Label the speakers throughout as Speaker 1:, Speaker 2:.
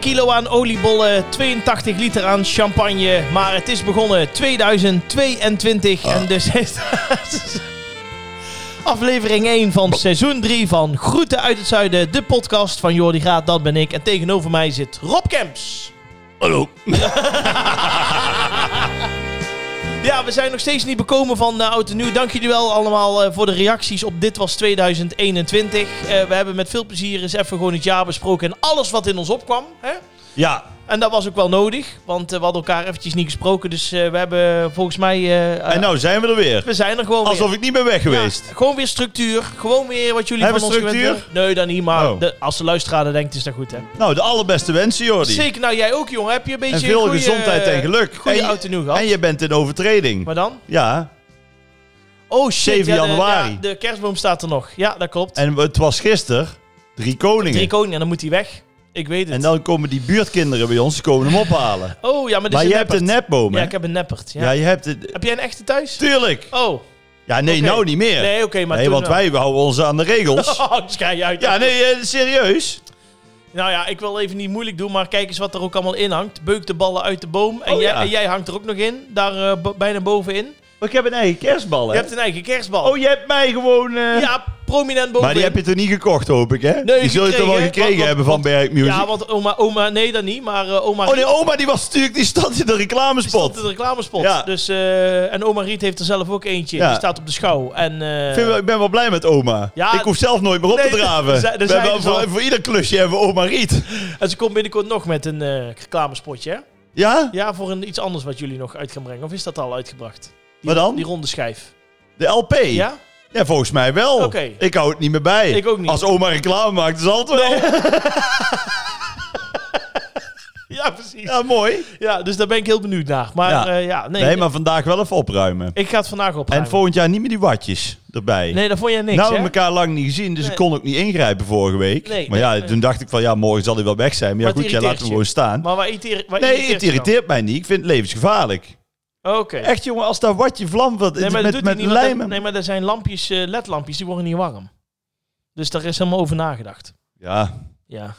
Speaker 1: kilo aan oliebollen, 82 liter aan champagne. Maar het is begonnen 2022 en dus is dat aflevering 1 van seizoen 3 van Groeten uit het Zuiden. De podcast van Jordi Graat, dat ben ik. En tegenover mij zit Rob Kemps.
Speaker 2: Hallo.
Speaker 1: Ja, we zijn nog steeds niet bekomen van de Oud en Nieuw. Dank jullie wel allemaal eh, voor de reacties op Dit Was 2021. Eh, we hebben met veel plezier eens even gewoon het jaar besproken en alles wat in ons opkwam. Hè?
Speaker 2: Ja,
Speaker 1: En dat was ook wel nodig, want eh, we hadden elkaar eventjes niet gesproken. Dus eh, we hebben volgens mij... eh, eh,
Speaker 2: en nou zijn we er weer.
Speaker 1: we zijn er gewoon
Speaker 2: Alsof
Speaker 1: weer.
Speaker 2: ik niet ben weg
Speaker 1: Ja,
Speaker 2: geweest.
Speaker 1: gewoon weer structuur. Gewoon weer wat jullie
Speaker 2: Hebben
Speaker 1: van
Speaker 2: we
Speaker 1: ons gewend
Speaker 2: structuur?
Speaker 1: hebben. Nee, dan niet, maar
Speaker 2: Oh.
Speaker 1: de- als de luisteraar dat denkt is dat goed, hè.
Speaker 2: Nou, de allerbeste wensen, Jordi.
Speaker 1: Zeker, nou jij ook, jongen. Heb je een beetje
Speaker 2: En veel
Speaker 1: goeie,
Speaker 2: gezondheid en geluk.
Speaker 1: Goede
Speaker 2: En-
Speaker 1: Oud en Nieuw gehad.
Speaker 2: En je bent in overtreding.
Speaker 1: Maar dan?
Speaker 2: Ja,
Speaker 1: Oh shit,
Speaker 2: 7
Speaker 1: ja, de-
Speaker 2: januari.
Speaker 1: ja, de kerstboom staat er nog. Ja, dat klopt.
Speaker 2: en het was gisteren drie koningen.
Speaker 1: Drie koningen, dan moet hij weg. Ik weet het.
Speaker 2: en dan komen die buurtkinderen bij ons, die komen hem ophalen.
Speaker 1: oh ja, maar dit
Speaker 2: maar
Speaker 1: is
Speaker 2: je
Speaker 1: een
Speaker 2: hebt een
Speaker 1: neppert.
Speaker 2: nepboom, hè?
Speaker 1: Ja, ik heb een neppert. Ja.
Speaker 2: Ja, je hebt het...
Speaker 1: Heb jij een echte thuis?
Speaker 2: Tuurlijk!
Speaker 1: Oh,
Speaker 2: Ja, nee,
Speaker 1: Oké.
Speaker 2: nou niet meer.
Speaker 1: nee, oké, maar
Speaker 2: Nee,
Speaker 1: toen
Speaker 2: want
Speaker 1: wel.
Speaker 2: wij houden ons aan de regels.
Speaker 1: Oh, dus ga je uit.
Speaker 2: Ja, nee, eh, serieus.
Speaker 1: Nou ja, ik wil even niet moeilijk doen, maar kijk eens wat er ook allemaal in hangt. Beuk de ballen uit de boom. En,
Speaker 2: Oh,
Speaker 1: jij,
Speaker 2: ja.
Speaker 1: en jij hangt er ook nog in, daar eh, bo- bijna bovenin.
Speaker 2: Maar ik heb een eigen kerstbal,
Speaker 1: Je
Speaker 2: hè?
Speaker 1: hebt een eigen kerstbal.
Speaker 2: Oh, je hebt mij gewoon... eh,
Speaker 1: Ja, prominent bovenin.
Speaker 2: Maar die heb je toch niet gekocht, hoop ik, hè?
Speaker 1: Nee,
Speaker 2: die zul je toch wel
Speaker 1: gekregen,
Speaker 2: gekregen
Speaker 1: want-
Speaker 2: hebben van
Speaker 1: want-
Speaker 2: Berg Music.
Speaker 1: Ja, want oma, oma, nee dat niet, maar eh, oma
Speaker 2: Oh nee, oma die was natuurlijk, die stond in de
Speaker 1: stond
Speaker 2: reclamespot.
Speaker 1: in de reclamespot.
Speaker 2: Ja.
Speaker 1: Dus, eh, en oma Riet heeft er zelf ook eentje,
Speaker 2: Ja.
Speaker 1: die staat op de schouw. En, eh,
Speaker 2: Ik vind wel- Ik ben wel blij met oma.
Speaker 1: Ja,
Speaker 2: ik hoef zelf nooit meer op
Speaker 1: nee,
Speaker 2: te draven.
Speaker 1: er zijn- er
Speaker 2: We
Speaker 1: zijn
Speaker 2: hebben
Speaker 1: dus al-
Speaker 2: voor, voor ieder klusje hebben we oma Riet.
Speaker 1: En ze komt binnenkort nog met een eh, reclamespotje, hè?
Speaker 2: Ja?
Speaker 1: Ja, voor een, iets anders wat jullie nog uit gaan brengen. Of is dat al uitgebracht? Die,
Speaker 2: Wat dan?
Speaker 1: Die ronde schijf.
Speaker 2: De LP?
Speaker 1: Ja?
Speaker 2: Ja, volgens mij wel.
Speaker 1: Oké.
Speaker 2: Ik hou het niet meer bij.
Speaker 1: Ik ook niet.
Speaker 2: Als oma reclame maakt, is altijd wel.
Speaker 1: Ja, precies. Ja.
Speaker 2: Ja, mooi.
Speaker 1: dus daar ben ik heel benieuwd naar. Maar
Speaker 2: Ja.
Speaker 1: ja, ja nee.
Speaker 2: Nee, maar vandaag wel even opruimen.
Speaker 1: Ik ga het vandaag opruimen.
Speaker 2: En volgend jaar niet meer die watjes erbij.
Speaker 1: Nee, dat vond jij niks,
Speaker 2: nou, we
Speaker 1: hè?
Speaker 2: elkaar lang niet gezien, dus
Speaker 1: Nee.
Speaker 2: ik kon ook niet ingrijpen vorige week.
Speaker 1: Nee,
Speaker 2: maar
Speaker 1: nee,
Speaker 2: ja,
Speaker 1: nee.
Speaker 2: toen dacht ik van ja, morgen zal hij wel weg zijn. Maar ja,
Speaker 1: Maar het
Speaker 2: goed, ja, laten we
Speaker 1: irriteert
Speaker 2: gewoon
Speaker 1: je.
Speaker 2: staan.
Speaker 1: Maar waar irriteer, waar
Speaker 2: nee, het
Speaker 1: je dan?
Speaker 2: irriteert mij niet. Ik vind het levensgevaarlijk.
Speaker 1: Oké.
Speaker 2: Echt jongen, als daar watje vlam wat
Speaker 1: Nee, maar dat
Speaker 2: met,
Speaker 1: doet
Speaker 2: met
Speaker 1: hij niet, want dat-
Speaker 2: lijmen.
Speaker 1: Nee, maar er zijn lampjes, eh, ledlampjes, die worden niet warm. Dus daar is helemaal over nagedacht.
Speaker 2: Ja,
Speaker 1: Ja.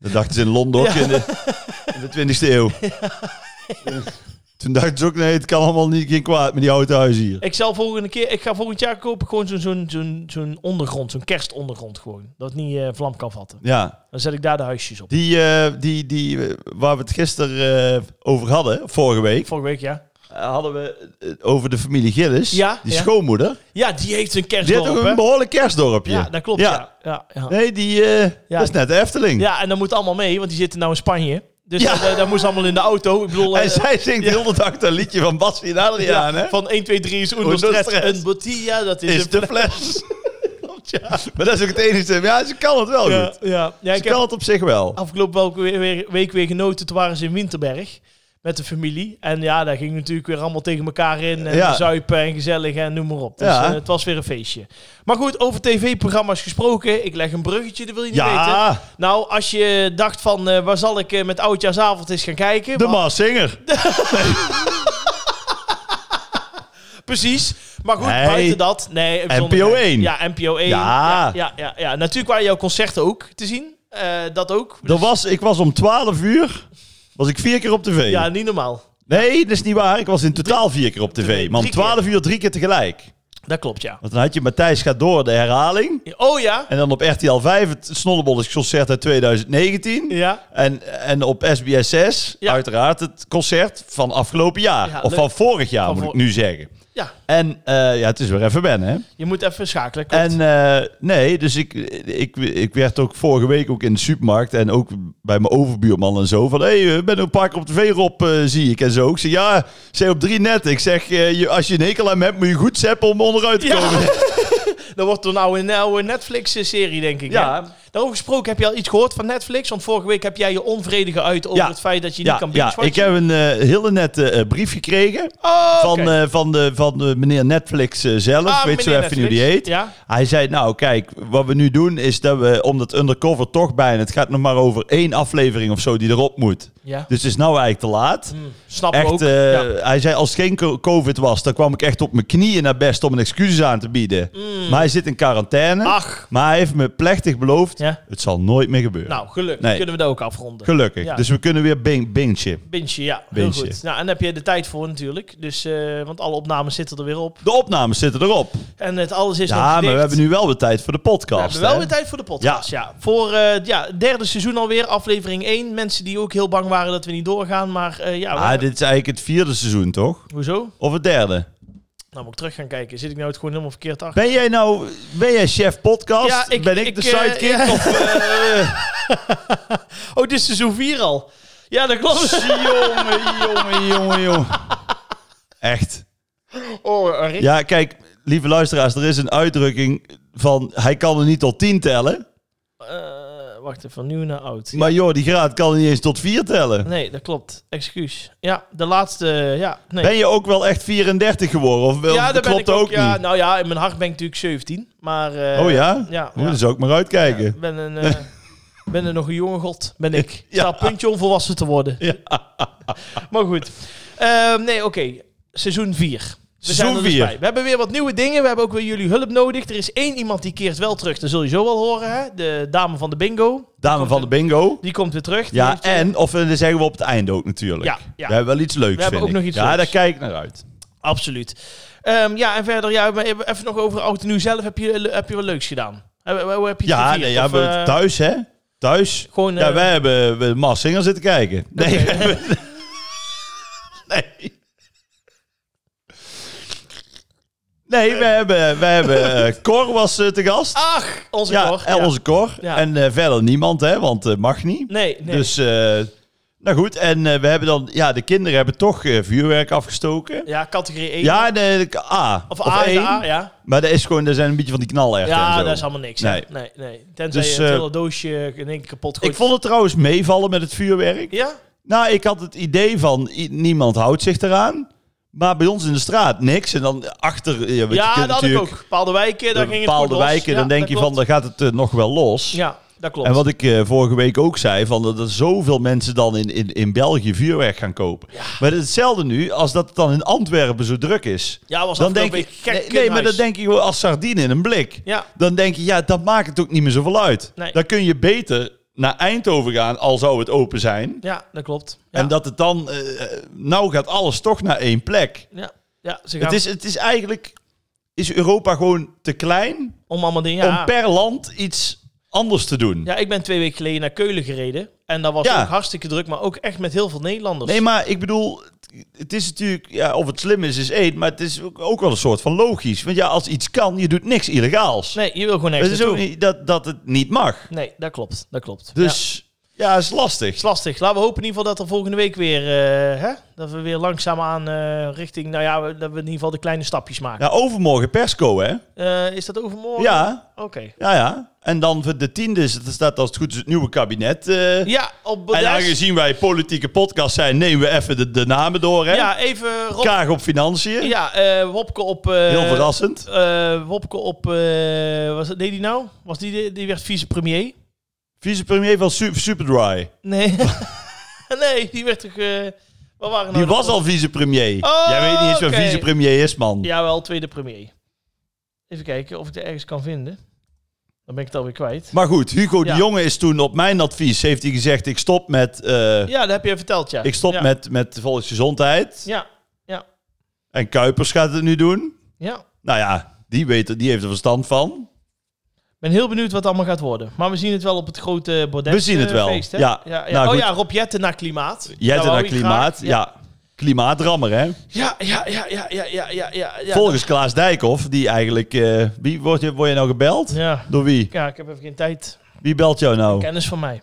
Speaker 2: dat dachten ze in Londen ook
Speaker 1: Ja.
Speaker 2: in, de, in de 20e eeuw. Toen dachten ze ook, nee, het kan allemaal niet geen kwaad met die houten huizen hier.
Speaker 1: Ik zal volgende keer, ik ga volgend jaar kopen gewoon zo'n zo'n zo'n zo'n ondergrond, zo'n kerstondergrond gewoon. Dat het niet eh, vlam kan vatten.
Speaker 2: Ja,
Speaker 1: Dan zet ik daar de huisjes op.
Speaker 2: die, eh, die, die eh, waar we het gisteren eh, over hadden, vorige week,
Speaker 1: Vorige week, ja.
Speaker 2: eh, hadden we eh, over de familie Gillis,
Speaker 1: Ja,
Speaker 2: die
Speaker 1: ja.
Speaker 2: schoonmoeder.
Speaker 1: Ja, die heeft een
Speaker 2: Die heeft
Speaker 1: kerstdorp,
Speaker 2: toch
Speaker 1: hè?
Speaker 2: een behoorlijk kerstdorpje.
Speaker 1: Ja, dat klopt, ja. Ja, ja.
Speaker 2: Nee, die, eh,
Speaker 1: Ja.
Speaker 2: dat is net de Efteling.
Speaker 1: ja, en dat moet allemaal mee, want die zitten nou in Spanje. Dus
Speaker 2: Ja.
Speaker 1: dat, dat- dat moest allemaal in de auto. Ik bedoel, eh,
Speaker 2: En zij zingt heel de dag dat liedje van Bassie en Adriaan, hè?
Speaker 1: van 1, 2, 3 is
Speaker 2: Uno
Speaker 1: Uno Stress.
Speaker 2: Stress.
Speaker 1: Een botilla, dat is,
Speaker 2: is
Speaker 1: een
Speaker 2: de fles. Klopt, ja. Maar dat is ook het enige. Ja, ze kan het wel
Speaker 1: Ja, Oh,
Speaker 2: goed.
Speaker 1: eh, ja. ja,
Speaker 2: Ze
Speaker 1: ik heb
Speaker 2: kan het op zich wel.
Speaker 1: afgelopen welke weer- weer- week weer genoten. Toen waren ze in Winterberg met de familie. En ja, daar ging natuurlijk weer allemaal tegen elkaar in. En
Speaker 2: Ja.
Speaker 1: zuipen en gezellig en noem maar op. Dus
Speaker 2: Ja.
Speaker 1: eh, het was weer een feestje. Maar goed, over tv-programma's gesproken. Ik leg een bruggetje, dat wil je niet weten.
Speaker 2: Ja,
Speaker 1: Nou, als je dacht van, eh, waar zal ik eh, met Oudjaarsavond eens gaan kijken?
Speaker 2: de
Speaker 1: Maar-
Speaker 2: Maas Singer.
Speaker 1: Precies. Maar goed,
Speaker 2: Nee.
Speaker 1: buiten dat. Nee, ik vond-
Speaker 2: NPO 1.
Speaker 1: Ja, NPO 1.
Speaker 2: Ja.
Speaker 1: Ja, ja, ja, ja. Natuurlijk waren jouw concerten ook te zien. Eh, dat ook.
Speaker 2: Er was, ik was om 12 uur was ik vier keer op tv.
Speaker 1: Ja, niet normaal.
Speaker 2: Nee, dat is niet waar. Ik was in totaal vier keer op tv.
Speaker 1: drie
Speaker 2: Maar om
Speaker 1: keer.
Speaker 2: 12 uur drie keer tegelijk.
Speaker 1: Dat klopt, ja.
Speaker 2: Want dan had je Matthijs gaat door de herhaling.
Speaker 1: Oh ja.
Speaker 2: En dan op RTL 5 het Snollebollens concert uit 2019.
Speaker 1: Ja.
Speaker 2: En, en op SBS 6
Speaker 1: Ja.
Speaker 2: uiteraard het concert van afgelopen jaar.
Speaker 1: Ja,
Speaker 2: of
Speaker 1: leuk.
Speaker 2: van vorig jaar
Speaker 1: Van
Speaker 2: moet ik
Speaker 1: vor-
Speaker 2: nu zeggen.
Speaker 1: Ja,
Speaker 2: En eh, ja, het is weer even ben, hè?
Speaker 1: je moet even schakelen. klopt.
Speaker 2: En eh, nee, dus ik, ik, ik werd ook vorige week ook in de supermarkt en ook bij mijn overbuurman en zo van... Hé, hey, ik ben een paar keer op tv, Rob, eh, zie ik en zo. Ik zeg, ja, ik zei op drie net. Ik zeg, eh, je, als je een hekel aan me hebt, moet je goed zappen om onderuit te
Speaker 1: Ja.
Speaker 2: komen.
Speaker 1: dat wordt er nou een oude Netflix-serie, denk ik.
Speaker 2: Ja.
Speaker 1: hè? Daarover gesproken, heb je al iets gehoord van Netflix? Want vorige week heb jij je onvrede geuit over
Speaker 2: Ja.
Speaker 1: het feit dat je niet kan
Speaker 2: ja, ik
Speaker 1: binge-watchen.
Speaker 2: heb een eh, hele nette eh, brief gekregen
Speaker 1: Oh,
Speaker 2: van,
Speaker 1: oké.
Speaker 2: eh, van, de, van de meneer Netflix eh, zelf.
Speaker 1: Ah,
Speaker 2: weet zo
Speaker 1: meneer
Speaker 2: even niet hoe die
Speaker 1: Netflix.
Speaker 2: heet.
Speaker 1: Ja.
Speaker 2: Hij zei, nou kijk, wat we nu doen is dat we, omdat Undercover toch bijna... Het gaat nog maar over één aflevering of zo die erop moet.
Speaker 1: ja.
Speaker 2: Dus het is nou eigenlijk te laat.
Speaker 1: Hm, Snap ik ook.
Speaker 2: Echt, eh,
Speaker 1: ja.
Speaker 2: Hij zei, als het geen co- COVID was, dan kwam ik echt op mijn knieën
Speaker 1: Mm.
Speaker 2: naar best om een excuses aan te bieden. Maar hij zit in quarantaine.
Speaker 1: Ach.
Speaker 2: Maar hij heeft me plechtig beloofd,
Speaker 1: Ah. Ja.
Speaker 2: Het zal nooit meer gebeuren.
Speaker 1: Nou, gelukkig
Speaker 2: Nee.
Speaker 1: kunnen we dat ook afronden.
Speaker 2: Gelukkig.
Speaker 1: Ja.
Speaker 2: Dus we kunnen weer bing, bingen.
Speaker 1: Bintje, ja. Heel
Speaker 2: Bintje.
Speaker 1: goed. Nou, en daar heb je de tijd voor natuurlijk. Dus, eh, want alle opnames zitten er weer op.
Speaker 2: De opnames zitten erop.
Speaker 1: En het alles is nog
Speaker 2: Ja, maar
Speaker 1: dicht.
Speaker 2: we hebben nu wel weer tijd voor de podcast.
Speaker 1: We hebben wel
Speaker 2: hè?
Speaker 1: weer tijd voor de podcast. Ja. Voor eh ja, het derde seizoen alweer, aflevering 1. Mensen die ook heel bang waren dat we niet doorgaan. Maar eh, ja, we-
Speaker 2: Ah, dit is eigenlijk het vierde seizoen, toch?
Speaker 1: hoezo?
Speaker 2: Of het derde?
Speaker 1: Nou moet ik terug gaan kijken. Zit ik nou het gewoon helemaal verkeerd achter?
Speaker 2: Ben jij nou, ben jij chef podcast?
Speaker 1: Ja, ik-
Speaker 2: ben ik,
Speaker 1: ik,
Speaker 2: de
Speaker 1: eh,
Speaker 2: sidekick?
Speaker 1: ja.
Speaker 2: Of, eh,
Speaker 1: Oh, dit is seizoen 4 al. Ja, dat klopt.
Speaker 2: eh, jongen, jongen, jongen, jongen. Echt.
Speaker 1: Oh, Rick.
Speaker 2: Ja, kijk, lieve luisteraars, er is een uitdrukking van hij kan er niet tot tien tellen.
Speaker 1: Eh, wacht even, van nieuw naar oud.
Speaker 2: Maar joh, die graad kan er niet eens tot vier tellen.
Speaker 1: Nee, dat klopt. Excuus. Ja, de laatste. Ja, nee.
Speaker 2: Ben je ook wel echt 34 geworden? Of wel,
Speaker 1: ja, daar
Speaker 2: klopt
Speaker 1: ben ik
Speaker 2: ook
Speaker 1: ja,
Speaker 2: niet?
Speaker 1: Nou ja, in mijn hart ben ik natuurlijk 17. Maar, eh,
Speaker 2: oh ja?
Speaker 1: Ja.
Speaker 2: Moet
Speaker 1: ja.
Speaker 2: je dus ook maar uitkijken.
Speaker 1: Ik ben een, eh, ben een nog een jonge god, ben ik. Ik
Speaker 2: Ja.
Speaker 1: sta op puntje om volwassen te worden. maar goed. Ehm, nee, oké. Seizoen 4. We zijn
Speaker 2: Seizoen
Speaker 1: er dus
Speaker 2: vier.
Speaker 1: bij. We hebben weer wat nieuwe dingen. We hebben ook weer jullie hulp nodig. Er is één iemand die keert wel terug. Dat zul je zo wel horen, hè? De dame van de bingo.
Speaker 2: Dame van de bingo.
Speaker 1: Die komt weer terug. Die
Speaker 2: Ja,
Speaker 1: heeft-
Speaker 2: en of eh, dan zeggen we op het einde ook natuurlijk.
Speaker 1: Ja, ja.
Speaker 2: We hebben wel iets leuks,
Speaker 1: We hebben
Speaker 2: vind
Speaker 1: ook
Speaker 2: ik.
Speaker 1: nog iets
Speaker 2: ja,
Speaker 1: leuks.
Speaker 2: daar kijk ik naar uit.
Speaker 1: Absoluut. Ehm, ja, en verder, ja, maar even even nog over oud en nieuw zelf. Heb je, heb je wat leuks gedaan? Heb, hoe heb je het
Speaker 2: Ja,
Speaker 1: gevierd?
Speaker 2: nee, ja
Speaker 1: Of,
Speaker 2: we-
Speaker 1: eh,
Speaker 2: thuis hè? Thuis.
Speaker 1: Gewoon,
Speaker 2: ja,
Speaker 1: eh,
Speaker 2: wij hebben we Mars Singer zitten kijken. Nee.
Speaker 1: Oké.
Speaker 2: we hebben- nee. Nee, wij hebben, wij hebben eh, Cor was eh, te gast.
Speaker 1: Ach, Ah, onze
Speaker 2: ja,
Speaker 1: Cor,
Speaker 2: en
Speaker 1: ja.
Speaker 2: onze Cor.
Speaker 1: Ja.
Speaker 2: En eh, verder niemand, hè, want eh, mag niet.
Speaker 1: Nee, nee.
Speaker 2: Dus, eh, nou goed. En eh, we hebben dan, ja, de kinderen hebben toch eh, vuurwerk afgestoken.
Speaker 1: ja, categorie 1.
Speaker 2: Ja, de, de- A.
Speaker 1: Of, A, en de
Speaker 2: één.
Speaker 1: A, ja.
Speaker 2: Maar dat is gewoon, er zijn een beetje van die knallerten en
Speaker 1: Ja,
Speaker 2: zo.
Speaker 1: dat is allemaal niks. hè.
Speaker 2: Nee.
Speaker 1: Nee, nee. Tenzij
Speaker 2: Dus,
Speaker 1: je het
Speaker 2: eh,
Speaker 1: hele doosje in één keer kapot gooit.
Speaker 2: Ik vond het trouwens meevallen met het vuurwerk.
Speaker 1: Ja?
Speaker 2: Nou, ik had het idee van i- niemand houdt zich eraan. Maar bij ons in de straat niks. En dan achter, eh, want je
Speaker 1: Ja,
Speaker 2: kunt
Speaker 1: dat had ik
Speaker 2: natuurlijk
Speaker 1: ook. Bepaalde wijken, daar ging
Speaker 2: de
Speaker 1: het
Speaker 2: bepaalde
Speaker 1: goed los.
Speaker 2: wijken,
Speaker 1: Ja,
Speaker 2: dan denk
Speaker 1: dat
Speaker 2: je van,
Speaker 1: klopt.
Speaker 2: dan gaat het eh, nog wel los.
Speaker 1: Ja, dat klopt.
Speaker 2: En wat ik eh, vorige week ook zei, van dat er zoveel mensen dan in, in, in België vuurwerk gaan kopen. Maar het is hetzelfde nu als dat het dan in Antwerpen zo druk is.
Speaker 1: ja, was
Speaker 2: Dan denk
Speaker 1: je...
Speaker 2: ik, nee, nee, maar dan denk je gewoon als sardine in een blik.
Speaker 1: Ja,
Speaker 2: Dan denk je, ja, dat maakt het ook niet meer zoveel uit.
Speaker 1: Nee.
Speaker 2: Dan kun je beter naar Eindhoven gaan, al zou het open zijn.
Speaker 1: ja, dat klopt. Ja.
Speaker 2: En dat het dan, eh, eh, nou gaat alles toch naar één plek.
Speaker 1: Ja, ja ze gaan
Speaker 2: Het, is, het is eigenlijk, is Europa gewoon te klein
Speaker 1: om allemaal dingen... Ja.
Speaker 2: om per land iets anders te doen.
Speaker 1: ja, ik ben twee weken geleden naar Keulen gereden. En dat was
Speaker 2: Ja.
Speaker 1: ook hartstikke druk, maar ook echt met heel veel Nederlanders.
Speaker 2: Nee, maar ik bedoel, het- het is natuurlijk, ja, of het slim is, is één, maar het is ook ook wel een soort van logisch. Want ja, als iets kan, je doet niks illegaals.
Speaker 1: Nee, je wil gewoon
Speaker 2: het
Speaker 1: nergens
Speaker 2: is ook
Speaker 1: naartoe.
Speaker 2: niet dat, dat het niet mag.
Speaker 1: Nee, dat klopt. Dat klopt. Ja.
Speaker 2: Dus ja, is lastig.
Speaker 1: is lastig. Laten we hopen in ieder geval dat er volgende week weer... eh, hè? Dat we weer langzaamaan eh richting... Nou ja, we- dat we in ieder geval de kleine stapjes maken.
Speaker 2: Ja, overmorgen persco, hè?
Speaker 1: Eh, is dat overmorgen?
Speaker 2: Ja,
Speaker 1: Oké.
Speaker 2: ja, ja. En dan voor de tiende is het- staat als het goed is het nieuwe kabinet. eh,
Speaker 1: Ja, op
Speaker 2: En
Speaker 1: Baudet.
Speaker 2: aangezien wij politieke podcast zijn, nemen we even de, de namen door. Hè?
Speaker 1: Ja, even Rob.
Speaker 2: Kaag op financiën.
Speaker 1: Ja, eh Wopke op. eh,
Speaker 2: Heel verrassend.
Speaker 1: eh, Wopke op. eh was, deed die nou? Was die, die werd vicepremier?
Speaker 2: Vicepremier van Su- Superdry.
Speaker 1: Nee. nee, die werd toch. eh waar waren nou
Speaker 2: Die
Speaker 1: de-
Speaker 2: was al vicepremier.
Speaker 1: Oh,
Speaker 2: Jij weet niet eens wat
Speaker 1: oké.
Speaker 2: vicepremier is, man.
Speaker 1: Jawel, tweede premier. Even kijken of ik het ergens kan vinden. Dan ben ik het alweer kwijt.
Speaker 2: Maar goed, Hugo
Speaker 1: Ja.
Speaker 2: de Jonge is toen op mijn advies, heeft hij gezegd, ik stop met, eh,
Speaker 1: Ja, dat heb je verteld, ja.
Speaker 2: ik stop
Speaker 1: ja.
Speaker 2: met, met volksgezondheid.
Speaker 1: Ja, ja,
Speaker 2: En Kuipers gaat het nu doen.
Speaker 1: ja.
Speaker 2: Nou ja, die, weet, er- die heeft er verstand van.
Speaker 1: Ik ben heel benieuwd wat het allemaal gaat worden. Maar we zien het wel op het grote Baudet
Speaker 2: We zien het
Speaker 1: eh,
Speaker 2: wel,
Speaker 1: feest, hè?
Speaker 2: ja.
Speaker 1: ja, ja.
Speaker 2: Nou,
Speaker 1: oh
Speaker 2: goed.
Speaker 1: ja, Rob Jetten naar klimaat.
Speaker 2: Jij
Speaker 1: Daar
Speaker 2: hebt
Speaker 1: Nou, wou
Speaker 2: naar
Speaker 1: ik
Speaker 2: klimaat.
Speaker 1: graag.
Speaker 2: Ja. klimaatrammer hè.
Speaker 1: Ja, ja, ja, ja, ja, ja, ja, ja. ja.
Speaker 2: Volgens Klaas Dijkhoff, die eigenlijk... eh, wie word je, word je nou gebeld?
Speaker 1: Ja.
Speaker 2: Door wie?
Speaker 1: ja, ik heb even geen tijd.
Speaker 2: Wie belt jou nou?
Speaker 1: Kennis van mij.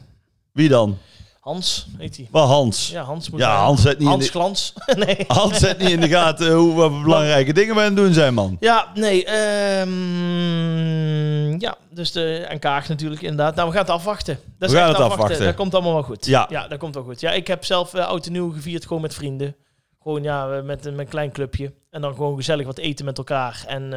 Speaker 2: Wie dan?
Speaker 1: Hans, heet hij.
Speaker 2: Wel Hans.
Speaker 1: Ja, Hans moet
Speaker 2: Ja,
Speaker 1: zijn.
Speaker 2: Hans zet niet,
Speaker 1: Hans
Speaker 2: in,
Speaker 1: Glans. nee.
Speaker 2: de, Hans zet niet in de gaten hoe wat belangrijke dingen we aan het doen zijn, man.
Speaker 1: Ja, nee. ehm, ja, dus de, en Kaag natuurlijk inderdaad. Nou, we gaan het afwachten. Dat
Speaker 2: We
Speaker 1: is
Speaker 2: gaan
Speaker 1: echt
Speaker 2: het afwachten.
Speaker 1: Dat komt allemaal wel goed.
Speaker 2: Ja.
Speaker 1: dat komt wel goed. Ja, ik heb zelf eh, oud en nieuw gevierd gewoon met vrienden. Gewoon ja, eh, met, een- met een klein clubje. En dan gewoon gezellig wat eten met elkaar. En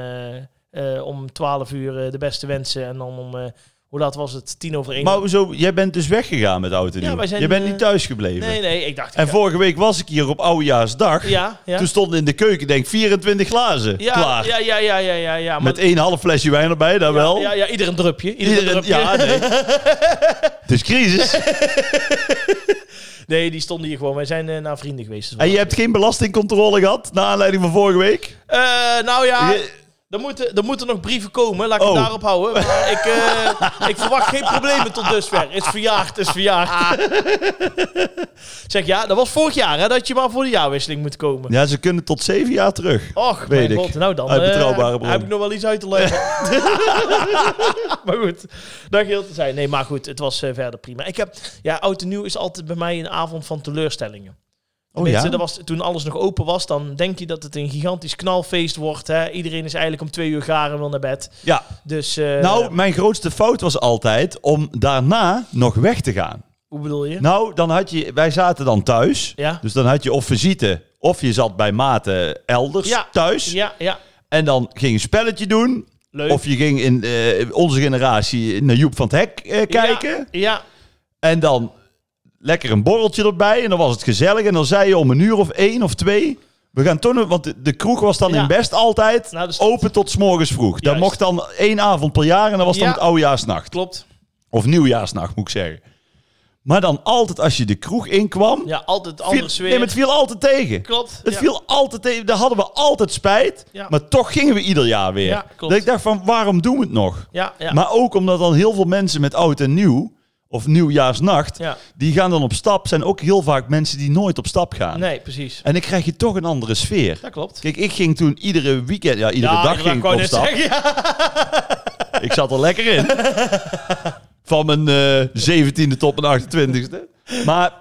Speaker 1: eh, eh, om 12 uur eh, de beste wensen. En dan om, eh, Hoe laat was het? Tien over één.
Speaker 2: Maar hoezo, jij bent dus weggegaan met oud en
Speaker 1: Ja,
Speaker 2: nieuw.
Speaker 1: wij zijn,
Speaker 2: Je bent
Speaker 1: eh,
Speaker 2: niet thuis gebleven.
Speaker 1: nee, nee, ik dacht... ik
Speaker 2: En
Speaker 1: ga-
Speaker 2: vorige week was ik hier op Oudejaarsdag.
Speaker 1: Ja, ja.
Speaker 2: Toen stonden in de keuken, denk ik, 24 glazen
Speaker 1: ja,
Speaker 2: klaar.
Speaker 1: Ja, ja, ja, ja, ja. ja maar-
Speaker 2: Met één half flesje wijn erbij, daar wel.
Speaker 1: Ja, ja, ieder een drupje. Ieder, een
Speaker 2: Iedereen-
Speaker 1: drupje.
Speaker 2: ja, nee. Het is crisis.
Speaker 1: Nee, die stonden hier gewoon. Wij zijn eh, naar vrienden geweest.
Speaker 2: En je hebt geen belastingcontrole gehad, naar aanleiding van vorige week?
Speaker 1: Eh, nou ja,
Speaker 2: Je-
Speaker 1: er moeten, er moeten nog brieven komen. Laat ik het
Speaker 2: Oh.
Speaker 1: daarop houden. Maar ik, eh, ik verwacht geen problemen tot dusver. Is verjaagd, is verjaagd. zeg, ja, dat was vorig jaar hè, dat je maar voor de jaarwisseling moet komen.
Speaker 2: Ja, ze kunnen tot zeven jaar terug.
Speaker 1: Och,
Speaker 2: Weet
Speaker 1: mijn
Speaker 2: ik.
Speaker 1: god. Nou dan.
Speaker 2: Uit
Speaker 1: eh,
Speaker 2: betrouwbare bron.
Speaker 1: Heb ik nog wel iets uit te leggen. maar goed, dat geheel te zijn. Nee, maar goed, het was eh, verder prima. Ik heb, ja, oud en nieuw is altijd bij mij een avond van teleurstellingen.
Speaker 2: Oh
Speaker 1: Mensen,
Speaker 2: ja?
Speaker 1: dat was, toen alles nog open was, dan denk je dat het een gigantisch knalfeest wordt. Hè? Iedereen is eigenlijk om twee uur garen en wil naar bed.
Speaker 2: Ja.
Speaker 1: Dus, eh,
Speaker 2: Nou, mijn grootste fout was altijd om daarna nog weg te gaan.
Speaker 1: hoe bedoel je?
Speaker 2: Nou, dan had je, wij zaten dan thuis.
Speaker 1: Ja.
Speaker 2: Dus dan had je of visite, of je zat bij maten elders
Speaker 1: Ja.
Speaker 2: thuis.
Speaker 1: Ja, ja.
Speaker 2: En dan ging je een spelletje doen.
Speaker 1: Leuk.
Speaker 2: Of je ging in eh, onze generatie naar Joep van het Hek eh, kijken.
Speaker 1: Ja, ja.
Speaker 2: En dan lekker een borreltje erbij. En dan was het gezellig. En dan zei je om een uur of één of twee. We gaan toch nog, want de, de kroeg was dan
Speaker 1: Ja.
Speaker 2: in Best altijd
Speaker 1: Nou, dus-
Speaker 2: open tot 's morgens vroeg. Dat
Speaker 1: Juist.
Speaker 2: mocht dan één avond per jaar en dat was dan
Speaker 1: Ja.
Speaker 2: het oudejaarsnacht.
Speaker 1: klopt.
Speaker 2: Of nieuwjaarsnacht moet ik zeggen. Maar dan altijd als je de kroeg inkwam,
Speaker 1: Ja, altijd
Speaker 2: viel,
Speaker 1: anders
Speaker 2: nee,
Speaker 1: weer.
Speaker 2: maar het viel altijd tegen.
Speaker 1: Klopt.
Speaker 2: Het
Speaker 1: ja.
Speaker 2: viel altijd tegen. Daar hadden we altijd spijt.
Speaker 1: Ja.
Speaker 2: Maar toch gingen we ieder jaar weer.
Speaker 1: Ja, klopt.
Speaker 2: dat ik dacht van, waarom doen we het nog?
Speaker 1: Ja, ja.
Speaker 2: Maar ook omdat dan heel veel mensen met oud en nieuw, of nieuwjaarsnacht,
Speaker 1: ja.
Speaker 2: die gaan dan op stap. Zijn ook heel vaak mensen die nooit op stap gaan.
Speaker 1: Nee, precies.
Speaker 2: En dan krijg je toch een andere sfeer.
Speaker 1: Dat klopt.
Speaker 2: Kijk, ik ging toen iedere weekend, ja, iedere
Speaker 1: ja,
Speaker 2: dag ging ik
Speaker 1: kan
Speaker 2: op
Speaker 1: net
Speaker 2: stap.
Speaker 1: zeggen, ja.
Speaker 2: Ik zat er lekker in. Van mijn eh 17e tot mijn 28e. Maar,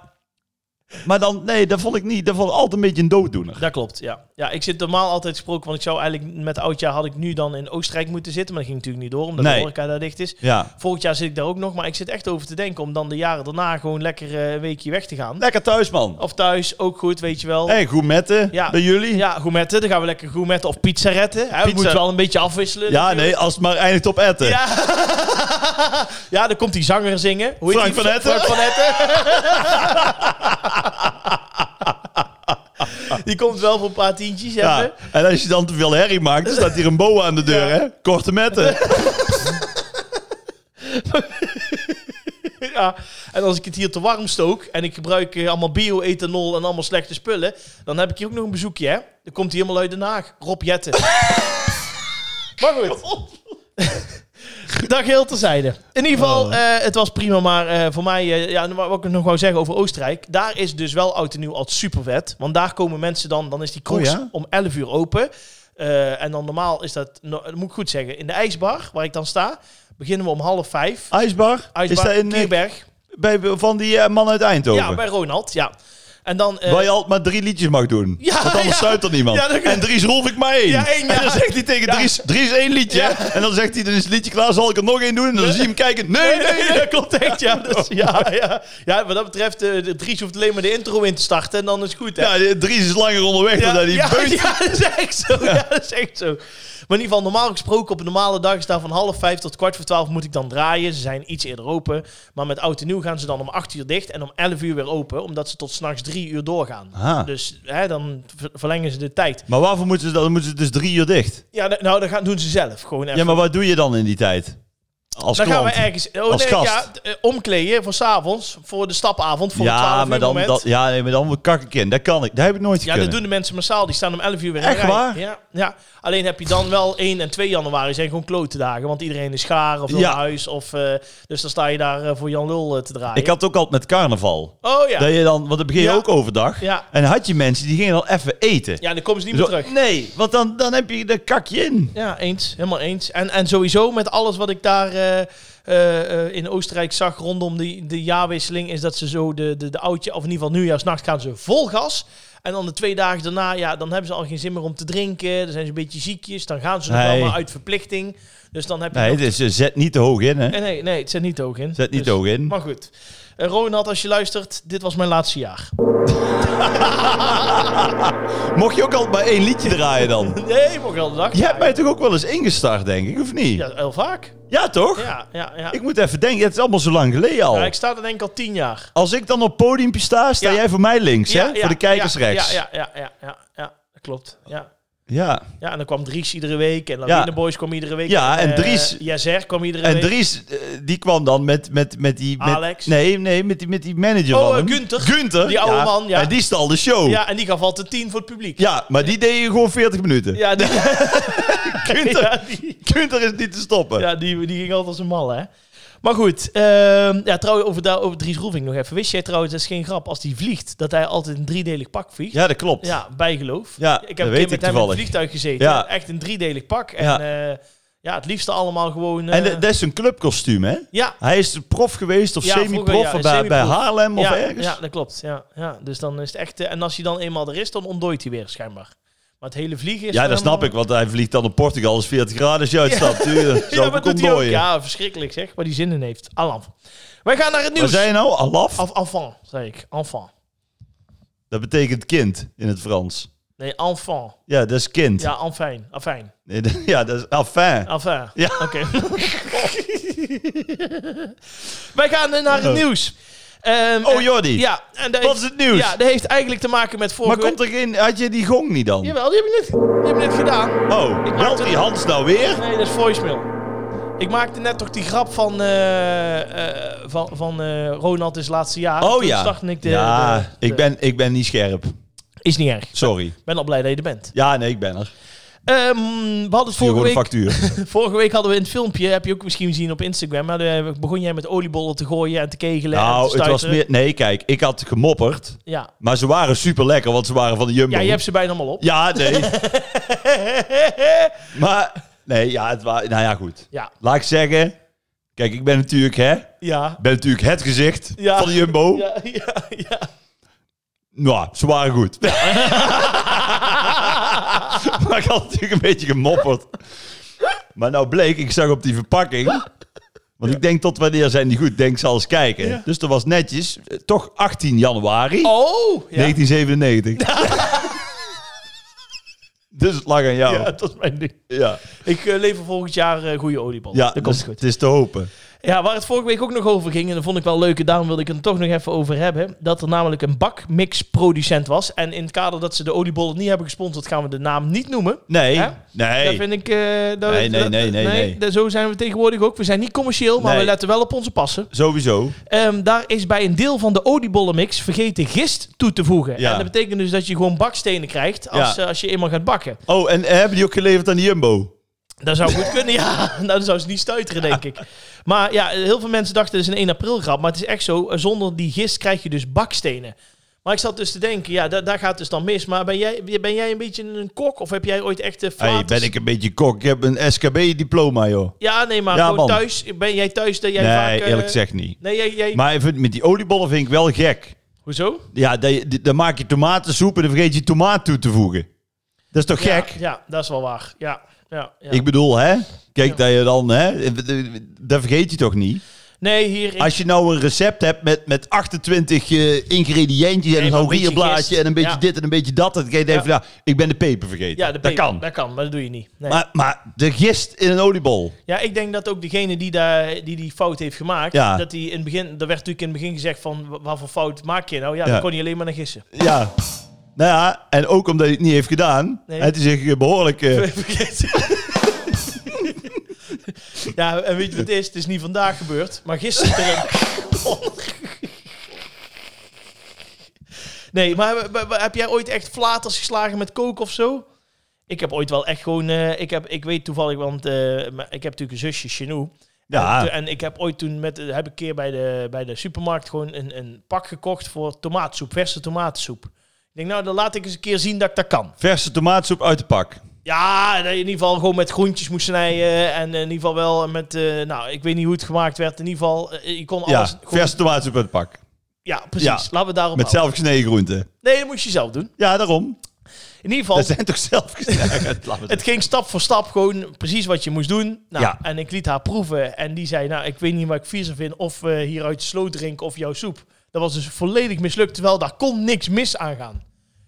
Speaker 2: maar dan, nee, dat vond ik niet. Dat vond ik altijd een beetje een dooddoener.
Speaker 1: Dat klopt, ja. Ja, ik zit normaal altijd gesproken, want ik zou eigenlijk met oudjaar had ik nu dan in Oostenrijk moeten zitten, maar dat ging natuurlijk niet door, omdat de
Speaker 2: Nee.
Speaker 1: horeca daar dicht is.
Speaker 2: Ja.
Speaker 1: Volgend jaar zit ik daar ook nog, maar ik zit echt over te denken om dan de jaren daarna gewoon lekker eh, een weekje weg te gaan.
Speaker 2: Lekker thuis, man.
Speaker 1: Of thuis, ook goed, weet je wel.
Speaker 2: Hé, hey, gourmetten
Speaker 1: Oh. Ja.
Speaker 2: bij jullie. Ja,
Speaker 1: Ja, gourmetten, dan gaan we lekker gourmetten of pizza retten. Hè, We
Speaker 2: Pizza.
Speaker 1: moeten wel een beetje afwisselen. natuurlijk.
Speaker 2: nee, als het maar eindigt op etten.
Speaker 1: Ja. ja, dan komt die zanger zingen. Hoe heet
Speaker 2: Frank
Speaker 1: die?
Speaker 2: van Etten.
Speaker 1: Frank van Etten. die komt wel voor een paar tientjes
Speaker 2: Ja.
Speaker 1: hebben.
Speaker 2: En als je dan te veel herrie maakt, staat hier een boa aan de deur,
Speaker 1: Ja.
Speaker 2: hè? Korte metten.
Speaker 1: Ja, en als ik het hier te warm stook en ik gebruik eh, allemaal bio-ethanol en allemaal slechte spullen, dan heb ik hier ook nog een bezoekje, hè? Dan komt hij helemaal uit Den Haag. Rob Jetten. maar goed. Dag heel terzijde. In ieder geval,
Speaker 2: Oh.
Speaker 1: eh, het was prima, maar eh, voor mij, eh, ja, wat ik nog wou zeggen over Oostenrijk, daar is dus wel oud en nieuw altijd super vet. Want daar komen mensen dan, dan is die kroeg
Speaker 2: Oh ja?
Speaker 1: om 11 uur open. Eh, en dan normaal is dat, no- dat moet ik goed zeggen, in de ijsbar waar ik dan sta, beginnen we om half vijf.
Speaker 2: IJsbar. Is
Speaker 1: IJsbar,
Speaker 2: dat in, eh,
Speaker 1: Kierberg.
Speaker 2: bij, van die eh, man uit Eindhoven?
Speaker 1: Ja, bij Ronald, ja. En dan... eh,
Speaker 2: Waar je altijd maar drie liedjes mag doen.
Speaker 1: Ja,
Speaker 2: want anders
Speaker 1: ja.
Speaker 2: sluit er niemand.
Speaker 1: Ja, dat-
Speaker 2: En Dries rolf ik maar één.
Speaker 1: Ja, één, ja.
Speaker 2: En dan zegt hij tegen
Speaker 1: Ja.
Speaker 2: Dries, Dries één liedje.
Speaker 1: Ja.
Speaker 2: En dan zegt hij, dan is het liedje klaar, zal ik er nog één doen? En dan zie je hem kijken, nee, nee, nee.
Speaker 1: dat klopt echt, ja. Dus, ja, ja. ja, wat dat betreft, eh, de Dries hoeft alleen maar de intro in te starten en dan is het goed, hè.
Speaker 2: Ja, die- Dries is langer onderweg dan dat hij
Speaker 1: ja,
Speaker 2: beust.
Speaker 1: ja, dat is echt zo. Ja. dat is echt zo. Maar in ieder geval, normaal gesproken op een normale dag is daar van half vijf tot kwart voor twaalf moet ik dan draaien. Ze zijn iets eerder open. Maar met oud en nieuw gaan ze dan om acht uur dicht en om elf uur weer open. Omdat ze tot s'nachts drie uur doorgaan.
Speaker 2: Aha.
Speaker 1: Dus hè, dan ver- verlengen ze de tijd.
Speaker 2: Maar waarvoor moeten ze dat? Dan moeten ze dus drie uur dicht.
Speaker 1: Ja, d- nou, dat gaan, doen ze zelf. Gewoon even.
Speaker 2: Ja, maar wat doe je dan in die tijd? Als
Speaker 1: Dan
Speaker 2: klant?
Speaker 1: gaan we ergens oh,
Speaker 2: Als
Speaker 1: nee,
Speaker 2: gast.
Speaker 1: Ja, d- eh, omkleden voor s'avonds, voor de stapavond, voor het 12
Speaker 2: ja,
Speaker 1: uur
Speaker 2: maar dan,
Speaker 1: moment.
Speaker 2: dat, ja, nee, maar dan kak ik in. Dat kan ik. Dat heb ik nooit
Speaker 1: ja, dat
Speaker 2: gekund.
Speaker 1: doen de mensen massaal. Die staan om 11 uur weer in
Speaker 2: Echt
Speaker 1: de rij.
Speaker 2: waar?
Speaker 1: Ja, ja. Alleen heb je dan wel 1 en 2 januari zijn gewoon klote dagen. Want iedereen is gaar of wil
Speaker 2: Ja.
Speaker 1: naar huis. Of, eh, dus dan sta je daar eh, voor Jan Lul eh, te draaien.
Speaker 2: Ik had het ook altijd met carnaval.
Speaker 1: oh ja.
Speaker 2: Dat je dan, want dan begin je
Speaker 1: Ja.
Speaker 2: ook overdag.
Speaker 1: Ja.
Speaker 2: En dan had je mensen die gingen dan even eten.
Speaker 1: ja, dan komen ze niet
Speaker 2: Zo-
Speaker 1: meer terug.
Speaker 2: Nee, want dan, dan heb je de kakje in.
Speaker 1: Ja, eens. Helemaal eens. En, en sowieso met alles wat ik daar eh, eh, eh, in Oostenrijk zag rondom die, de jaarwisseling, is dat ze zo de, de, de oudje, of in ieder geval nieuwjaarsnacht, gaan ze vol gas. En dan de twee dagen daarna, ja, dan hebben ze al geen zin meer om te drinken. Dan zijn ze een beetje ziekjes. Dan gaan ze nog
Speaker 2: Nee.
Speaker 1: wel maar uit verplichting. Dus dan heb je...
Speaker 2: Nee,
Speaker 1: nog-
Speaker 2: dus eh, zet niet te hoog in, hè?
Speaker 1: Eh, nee, nee, het zit niet hoog in.
Speaker 2: Zet niet
Speaker 1: Dus-
Speaker 2: te hoog in.
Speaker 1: Maar goed. Eh, Ronald, als je luistert, dit was mijn laatste jaar.
Speaker 2: Mocht je ook altijd maar één liedje draaien dan?
Speaker 1: Nee, mocht wel de dag.
Speaker 2: Je hebt mij toch ook wel eens ingestart, denk ik, of niet?
Speaker 1: Ja,
Speaker 2: Ja,
Speaker 1: heel vaak.
Speaker 2: toch?
Speaker 1: Ja, ja, ja.
Speaker 2: Ik moet even denken, het is allemaal zo lang geleden al.
Speaker 1: Ja, ik sta er denk ik al tien jaar.
Speaker 2: Als ik dan op podiumpje sta, sta
Speaker 1: Ja.
Speaker 2: jij voor mij links,
Speaker 1: ja,
Speaker 2: hè?
Speaker 1: ja,
Speaker 2: voor de kijkers
Speaker 1: ja,
Speaker 2: rechts.
Speaker 1: Ja, ja, ja, ja, ja, ja, dat klopt. Ja.
Speaker 2: Ja.
Speaker 1: ja, en dan kwam Dries iedere week en
Speaker 2: Ja.
Speaker 1: Lawine Boys kwam iedere week. Eh,
Speaker 2: Ja, en Dries-
Speaker 1: Jazer kwam iedere
Speaker 2: En
Speaker 1: week.
Speaker 2: Dries, eh, die kwam dan met, met, met die... Met,
Speaker 1: Alex.
Speaker 2: Nee, nee, met die, met die manager
Speaker 1: Oh,
Speaker 2: van
Speaker 1: eh,
Speaker 2: hem.
Speaker 1: Gunther.
Speaker 2: Gunther.
Speaker 1: Die oude man, ja.
Speaker 2: En die stal de show. Ja,
Speaker 1: Ja, en die gaf altijd tien voor het publiek.
Speaker 2: maar die deed je gewoon 40 minuten.
Speaker 1: Ja, die,
Speaker 2: Gunther,
Speaker 1: ja, die,
Speaker 2: Gunther is niet te stoppen.
Speaker 1: ja, die, die ging altijd als een mal, hè. Maar goed, ehm, ja, trouwens, over, daar- over Dries Roeving nog even. Wist jij trouwens, dat is geen grap, als die vliegt, dat hij altijd een driedelig pak vliegt?
Speaker 2: Ja, dat klopt.
Speaker 1: Ja, bijgeloof.
Speaker 2: Ja,
Speaker 1: ik heb
Speaker 2: dat
Speaker 1: een
Speaker 2: weet
Speaker 1: keer met
Speaker 2: ik
Speaker 1: hem in
Speaker 2: toevallig.
Speaker 1: het vliegtuig gezeten.
Speaker 2: Ja.
Speaker 1: Echt een driedelig pak. En
Speaker 2: Ja.
Speaker 1: ja, ja het liefste allemaal gewoon... eh,
Speaker 2: En dat dat is een clubkostuum, hè?
Speaker 1: ja,
Speaker 2: Hij is prof geweest of
Speaker 1: Ja,
Speaker 2: semi-prof
Speaker 1: vroeger, ja,
Speaker 2: bij, bij
Speaker 1: semi-prof.
Speaker 2: Haarlem of
Speaker 1: ja,
Speaker 2: ergens.
Speaker 1: Ja, dat klopt. Ja, ja. Dus dan is het echt... eh, en als hij dan eenmaal er is, dan ontdooit hij weer schijnbaar. Maar het hele vliegen is...
Speaker 2: Ja,
Speaker 1: dan
Speaker 2: dat snap ik,
Speaker 1: helemaal-
Speaker 2: want hij vliegt dan op Portugal als 40 graden als je uitstapt. Ja.
Speaker 1: Ja,
Speaker 2: Zou
Speaker 1: maar
Speaker 2: ik
Speaker 1: doet hij ook.
Speaker 2: ontdooien.
Speaker 1: Ja, verschrikkelijk zeg. Waar die zin in heeft. Alaf. Wij gaan naar het
Speaker 2: Waar
Speaker 1: nieuws.
Speaker 2: zijn nou? Alaf?
Speaker 1: Of enfant, zei ik. Enfant.
Speaker 2: Dat betekent kind in het Frans.
Speaker 1: Nee, enfant.
Speaker 2: Ja, dat is kind.
Speaker 1: Ja, enfin. Enfin.
Speaker 2: Nee, dat- Ja, dat is afin.
Speaker 1: Enfin.
Speaker 2: Ja.
Speaker 1: Oké. Wij gaan eh, naar het nieuws. Ehm,
Speaker 2: Oh,
Speaker 1: eh,
Speaker 2: Jordi.
Speaker 1: Ja. En dat
Speaker 2: Wat is
Speaker 1: heeft-
Speaker 2: het nieuws?
Speaker 1: Ja, dat heeft eigenlijk te maken met vorige
Speaker 2: Maar komt er geen... Had je die gong niet dan?
Speaker 1: Jawel, die heb ik net, die heb ik net gedaan.
Speaker 2: Oh, belt die Hans nou weer?
Speaker 1: Nee, dat is voicemail. Ik maakte net toch die grap van, eh, eh, van, van eh, Ronald is laatste jaar.
Speaker 2: Oh
Speaker 1: Toen
Speaker 2: ja.
Speaker 1: zag ik de,
Speaker 2: Ja,
Speaker 1: de- de-
Speaker 2: ik ben, ik ben niet scherp.
Speaker 1: Is niet erg.
Speaker 2: Sorry.
Speaker 1: Ik ben al blij dat je er bent.
Speaker 2: Ja, nee, ik ben er.
Speaker 1: Ehm, we hadden het vorige
Speaker 2: Stuur gewoon een
Speaker 1: week,
Speaker 2: factuur.
Speaker 1: vorige week hadden we in het filmpje, heb je ook misschien gezien op Instagram, hadden we- begon jij met oliebollen te gooien en te kegelen en te
Speaker 2: Nou, het was
Speaker 1: stuiteren.
Speaker 2: meer... Nee, kijk, ik had gemopperd.
Speaker 1: Ja.
Speaker 2: Maar ze waren super lekker, want ze waren van de Jumbo.
Speaker 1: ja, je hebt ze bijna allemaal op.
Speaker 2: Ja, nee. maar, nee, ja, het was... Nou ja, goed.
Speaker 1: Ja,
Speaker 2: Laat ik zeggen... Kijk, ik ben natuurlijk, hè,
Speaker 1: ja,
Speaker 2: ben natuurlijk het gezicht
Speaker 1: Ja.
Speaker 2: van de Jumbo.
Speaker 1: ja, ja. ja.
Speaker 2: Nou, ze waren goed. maar ik had natuurlijk een beetje gemopperd. Maar nou bleek, ik zag op die verpakking... Want ik denk, tot wanneer zijn die goed? Ik Denk, ik zal eens kijken.
Speaker 1: Ja.
Speaker 2: Dus er was netjes, eh, toch 18 januari
Speaker 1: Oh! Ja.
Speaker 2: 1997. dus het lag aan jou.
Speaker 1: ja,
Speaker 2: Ja,
Speaker 1: dat is mijn ding.
Speaker 2: ja.
Speaker 1: Ik eh, lever volgend jaar eh, goede oliebollen. dat komt
Speaker 2: dus
Speaker 1: goed.
Speaker 2: het is te hopen.
Speaker 1: Ja, waar het vorige week ook nog over ging, en dat vond ik wel leuk, en daarom wilde ik het er toch nog even over hebben. Dat er namelijk een bakmixproducent was. En in het kader dat ze de oliebollen niet hebben gesponsord, gaan we de naam niet noemen.
Speaker 2: Nee,
Speaker 1: Hè? Dat
Speaker 2: nee.
Speaker 1: vind ik. eh, dat-
Speaker 2: Nee, nee,
Speaker 1: dat-
Speaker 2: nee, nee, nee.
Speaker 1: dat- Zo zijn we tegenwoordig ook. We zijn niet commercieel, maar
Speaker 2: Nee.
Speaker 1: we letten wel op onze passen.
Speaker 2: Sowieso.
Speaker 1: Ehm, daar is bij een deel van de oliebollenmix vergeten gist toe te voegen.
Speaker 2: Ja.
Speaker 1: En dat betekent dus dat je gewoon bakstenen krijgt als,
Speaker 2: Ja.
Speaker 1: eh, als je eenmaal gaat bakken.
Speaker 2: Oh, en hebben die ook geleverd aan de Jumbo?
Speaker 1: Dat zou goed kunnen, ja. Nou, dan zou ze niet stuiteren, denk ik. Maar ja, heel veel mensen dachten het is een 1 april grap. Maar het is echt zo, eh, zonder die gist krijg je dus bakstenen. Maar ik zat dus te denken, ja, da- daar gaat dus dan mis. Maar ben jij, ben jij een beetje een kok? Of heb jij ooit echt eh, de
Speaker 2: Hey, ben ik een beetje kok. Ik heb een SKB-diploma, joh.
Speaker 1: Ja, nee, maar
Speaker 2: Ja,
Speaker 1: gewoon
Speaker 2: man.
Speaker 1: thuis. Ben jij thuis dat jij
Speaker 2: nee,
Speaker 1: vaak... eh,
Speaker 2: eerlijk gezegd niet.
Speaker 1: Nee, jij... jij
Speaker 2: Maar even, met die oliebollen vind ik wel gek.
Speaker 1: hoezo?
Speaker 2: Ja, dat je- dan maak je tomatensoep en dan vergeet je tomaat toe te voegen. Dat is toch gek?
Speaker 1: Ja, ja, dat is wel waar. Ja, ja, ja.
Speaker 2: Ik bedoel, hè? Kijk,
Speaker 1: Ja.
Speaker 2: dat je dan, hè? Dat vergeet je toch niet?
Speaker 1: nee, hier... ik-
Speaker 2: Als je nou een recept hebt met, met 28 eh, ingrediëntjes en
Speaker 1: Nee, maar
Speaker 2: een
Speaker 1: een beetje
Speaker 2: rierblaadje
Speaker 1: gist.
Speaker 2: en een beetje
Speaker 1: Ja.
Speaker 2: dit en een beetje dat, dan denk je
Speaker 1: Ja.
Speaker 2: even, nou, ik ben de peper vergeten.
Speaker 1: ja, de peper.
Speaker 2: Dat kan.
Speaker 1: Dat kan, maar dat doe je niet. Nee.
Speaker 2: Maar, maar de gist in een oliebol.
Speaker 1: Ja, ik denk dat ook degene die daar, die, die fout heeft gemaakt,
Speaker 2: Ja.
Speaker 1: dat die in het begin, er werd natuurlijk in het begin gezegd van, wa- wat voor fout maak je nou? Ja,
Speaker 2: Ja.
Speaker 1: daar kon hij alleen maar naar gissen.
Speaker 2: Ja. Nou ja, en ook omdat hij het niet heeft gedaan.
Speaker 1: Nee.
Speaker 2: Het is zich behoorlijk... eh,
Speaker 1: ja, en weet je wat het is? Het is niet vandaag gebeurd, maar gisteren. nee, maar w- w- w- heb jij ooit echt flaters geslagen met kook of zo? Ik heb ooit wel echt gewoon, eh, ik, heb, ik weet toevallig, want eh, m- ik heb natuurlijk een zusje, Chenou. En,
Speaker 2: ja.
Speaker 1: to- en ik heb ooit toen met, heb ik een keer bij de, bij de supermarkt gewoon een, een pak gekocht voor tomaatsoep, verse tomatensoep. Ik denk, nou, dan laat ik eens een keer zien dat ik dat kan.
Speaker 2: Verse tomaatsoep uit de pak.
Speaker 1: Ja, dat je in ieder geval gewoon met groentjes moest snijden. En in ieder geval wel met, eh, nou, ik weet niet hoe het gemaakt werd. In ieder geval, eh, je kon alles.
Speaker 2: ja,
Speaker 1: gewoon-
Speaker 2: verse tomaatsoep uit de pak.
Speaker 1: ja precies.
Speaker 2: Ja.
Speaker 1: Laten we daarop
Speaker 2: Met
Speaker 1: houden.
Speaker 2: zelfgesneden groenten.
Speaker 1: Nee, dat moest je zelf doen.
Speaker 2: Ja, daarom.
Speaker 1: In ieder
Speaker 2: Dat
Speaker 1: geval,
Speaker 2: zijn toch zelfgesneden... Laat maar
Speaker 1: het ging stap voor stap gewoon precies wat je moest doen. Nou,
Speaker 2: Ja.
Speaker 1: En ik liet haar proeven. En die zei, nou, ik weet niet wat ik viezer vind. Of we hier uit de sloot drinken of jouw soep. Dat was dus volledig mislukt. Terwijl daar kon niks mis aan gaan.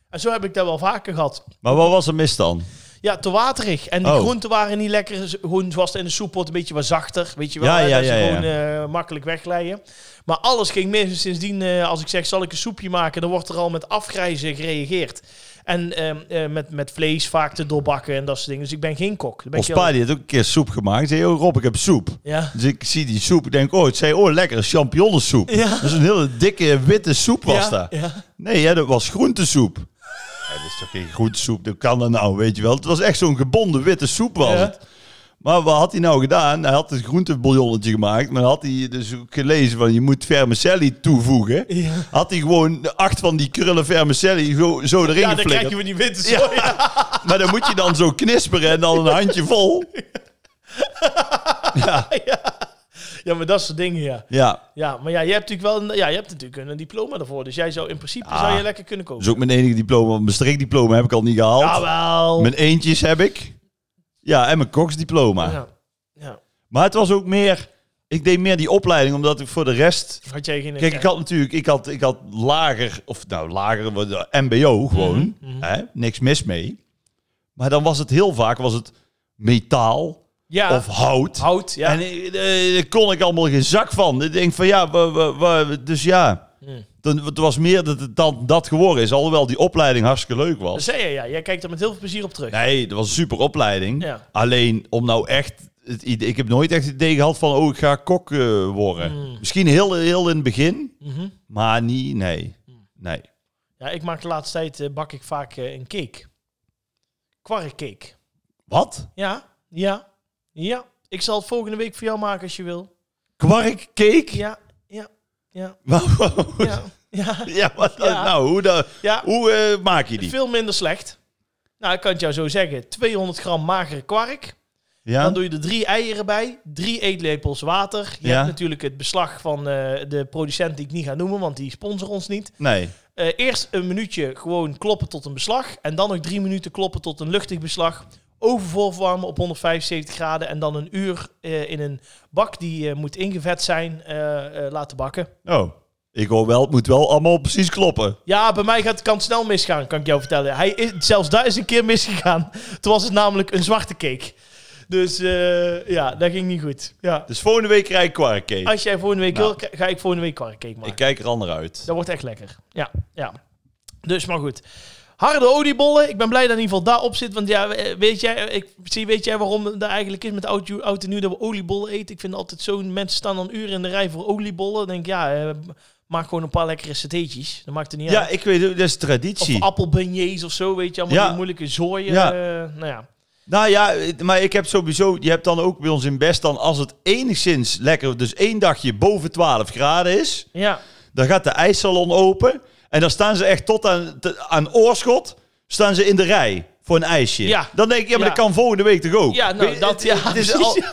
Speaker 1: En zo heb ik dat wel vaker gehad.
Speaker 2: Maar wat was er mis dan?
Speaker 1: Ja, te waterig. En die
Speaker 2: Oh.
Speaker 1: groenten waren niet lekker. z- Gewoon zoals het in de soeppot een beetje wat zachter. Weet je wel,
Speaker 2: Ja,
Speaker 1: hè,
Speaker 2: ja,
Speaker 1: dat ze
Speaker 2: ja, ja.
Speaker 1: gewoon eh, makkelijk wegleiden. Maar alles ging mis. En Sindsdien, eh, als ik zeg, zal ik een soepje maken? Dan wordt er al met afgrijzen gereageerd. En ehm, eh, met, met vlees vaak te doorbakken en dat soort dingen. Dus ik ben geen kok. Dan ben
Speaker 2: Ons
Speaker 1: ik heel-
Speaker 2: pa die heeft ook een keer soep gemaakt. Zei, joh Rob, ik heb soep.
Speaker 1: Ja.
Speaker 2: Dus ik zie die soep. Ik denk, oh, het zei, oh, lekker, champignonsoep.
Speaker 1: Ja.
Speaker 2: Dat is een hele dikke witte soep was
Speaker 1: ja,
Speaker 2: dat.
Speaker 1: ja.
Speaker 2: Nee, hè, dat was groentesoep. Ja, dat is toch geen groentesoep, dat kan dat nou, weet je wel. Het was echt zo'n gebonden witte soep was
Speaker 1: Ja.
Speaker 2: het. Maar wat had hij nou gedaan? Hij had het groentebouillonnetje gemaakt, maar dan had hij dus ook gelezen van je moet vermicelli toevoegen.
Speaker 1: Ja.
Speaker 2: Had hij gewoon de acht van die krullen vermicelli zo, zo erin
Speaker 1: Ja, dan
Speaker 2: geflikkerd.
Speaker 1: krijg je weer die witte
Speaker 2: Ja.
Speaker 1: zooi. Ja.
Speaker 2: Maar dan moet je dan zo knisperen en dan een handje vol.
Speaker 1: maar dat soort dingen, ja.
Speaker 2: Ja,
Speaker 1: Ja, maar ja, je hebt natuurlijk wel een, ja, je hebt natuurlijk een diploma daarvoor. Dus jij zou in principe
Speaker 2: Ja.
Speaker 1: zou je lekker kunnen
Speaker 2: dat
Speaker 1: koken.
Speaker 2: is ook mijn enige diploma. want Mijn strikdiploma heb ik al niet gehaald.
Speaker 1: Jawel.
Speaker 2: Mijn eentjes heb ik. Ja, en mijn koksdiploma.
Speaker 1: Ja. ja.
Speaker 2: Maar het was ook meer... Ik deed meer die opleiding, omdat ik voor de rest...
Speaker 1: Had jij geen...
Speaker 2: Kijk, ik had natuurlijk... Ik had, ik had lager... Of nou, lager... wat, eh, MBO gewoon.
Speaker 1: Mhm.
Speaker 2: hè? Niks mis mee. Maar dan was het heel vaak... Was het metaal
Speaker 1: ja.
Speaker 2: of hout.
Speaker 1: hout, ja.
Speaker 2: En eh, eh, daar kon ik allemaal geen zak van. Ik denk van ja, wa- wa- wa- dus ja.
Speaker 1: Hmm.
Speaker 2: Dan, het was meer dat het dan dat geworden is. Alhoewel die opleiding hartstikke leuk
Speaker 1: Dat
Speaker 2: was.
Speaker 1: zei je, ja. Jij kijkt er met heel veel plezier op terug.
Speaker 2: Nee, dat was een super opleiding.
Speaker 1: Ja.
Speaker 2: Alleen om nou echt... Het idee, ik heb nooit echt het idee gehad van... Oh, ik ga kok eh, worden. Misschien heel, heel in het begin.
Speaker 1: Hmm. Mhm. Hmm.
Speaker 2: Maar niet, nee. Nee.
Speaker 1: Ja, ik maak de laatste tijd, eh, bak ik vaak eh, een cake. Kwarkcake.
Speaker 2: Wat?
Speaker 1: Ja, ja, ja. Ik zal het volgende week voor jou maken als je wil.
Speaker 2: Kwarkcake? Ja.
Speaker 1: Ja, ja, ja,
Speaker 2: ja.
Speaker 1: ja. Ja,
Speaker 2: wat dan
Speaker 1: Ja.
Speaker 2: nou? Hoe, dan-
Speaker 1: ja.
Speaker 2: hoe eh, maak je die?
Speaker 1: Veel minder slecht. Nou, ik kan het jou zo zeggen. 200 gram magere kwark.
Speaker 2: Ja?
Speaker 1: Dan doe je er drie eieren bij, drie eetlepels water. Je
Speaker 2: Ja.
Speaker 1: hebt natuurlijk het beslag van eh, de producent die ik niet ga noemen, want die sponsor ons niet.
Speaker 2: Nee.
Speaker 1: Eh, eerst een minuutje gewoon kloppen tot een beslag. En dan nog drie minuten kloppen tot een luchtig beslag. Oven voorverwarmen op 175 graden. En dan een uur eh, in een bak die eh, moet ingevet zijn eh, eh, laten bakken.
Speaker 2: Oh. Ik hoor wel, het moet wel allemaal precies kloppen.
Speaker 1: Ja, bij mij gaat, kan het snel misgaan, kan ik jou vertellen. Hij is, zelfs daar is een keer misgegaan. Toen was het namelijk een zwarte cake. Dus eh, ja, dat ging niet goed. Ja.
Speaker 2: Dus volgende week krijg ik kwarkcake.
Speaker 1: Als jij volgende week
Speaker 2: Nou.
Speaker 1: wil, k- ga ik volgende week kwarkcake maken.
Speaker 2: Ik kijk er ander uit.
Speaker 1: Dat wordt echt lekker. Ja, ja. Dus, maar goed. Harde oliebollen. Ik ben blij dat in ieder geval daarop zit. Want ja, eh, weet jij, ik zie, weet jij waarom dat eigenlijk is met oud, oud en nieuw dat we oliebollen eten? Ik vind altijd zo'n mensen staan dan uren in de rij voor oliebollen. Dan denk ik, ja, eh, maak gewoon een paar lekkere satéetjes. Dat maakt er niet
Speaker 2: Ja,
Speaker 1: uit.
Speaker 2: ik weet het, dat is
Speaker 1: Of
Speaker 2: traditie.
Speaker 1: appelbeignets of zo, weet je. Allemaal
Speaker 2: Ja.
Speaker 1: die moeilijke zooien.
Speaker 2: Ja.
Speaker 1: eh, nou ja.
Speaker 2: Nou ja, het- maar ik heb sowieso, je hebt dan ook bij ons in Best dan als het enigszins lekker, dus één dagje boven 12 graden is,
Speaker 1: Ja.
Speaker 2: dan gaat de ijssalon open en dan staan ze echt tot aan, te- aan oorschot, staan ze in de rij voor een ijsje.
Speaker 1: Ja.
Speaker 2: Dan denk ik, ja, maar
Speaker 1: Ja.
Speaker 2: dat kan volgende week toch ook?
Speaker 1: Ja, nou,
Speaker 2: Weet-
Speaker 1: dat...
Speaker 2: het-
Speaker 1: ja,
Speaker 2: het is
Speaker 1: precies,
Speaker 2: al-
Speaker 1: ja.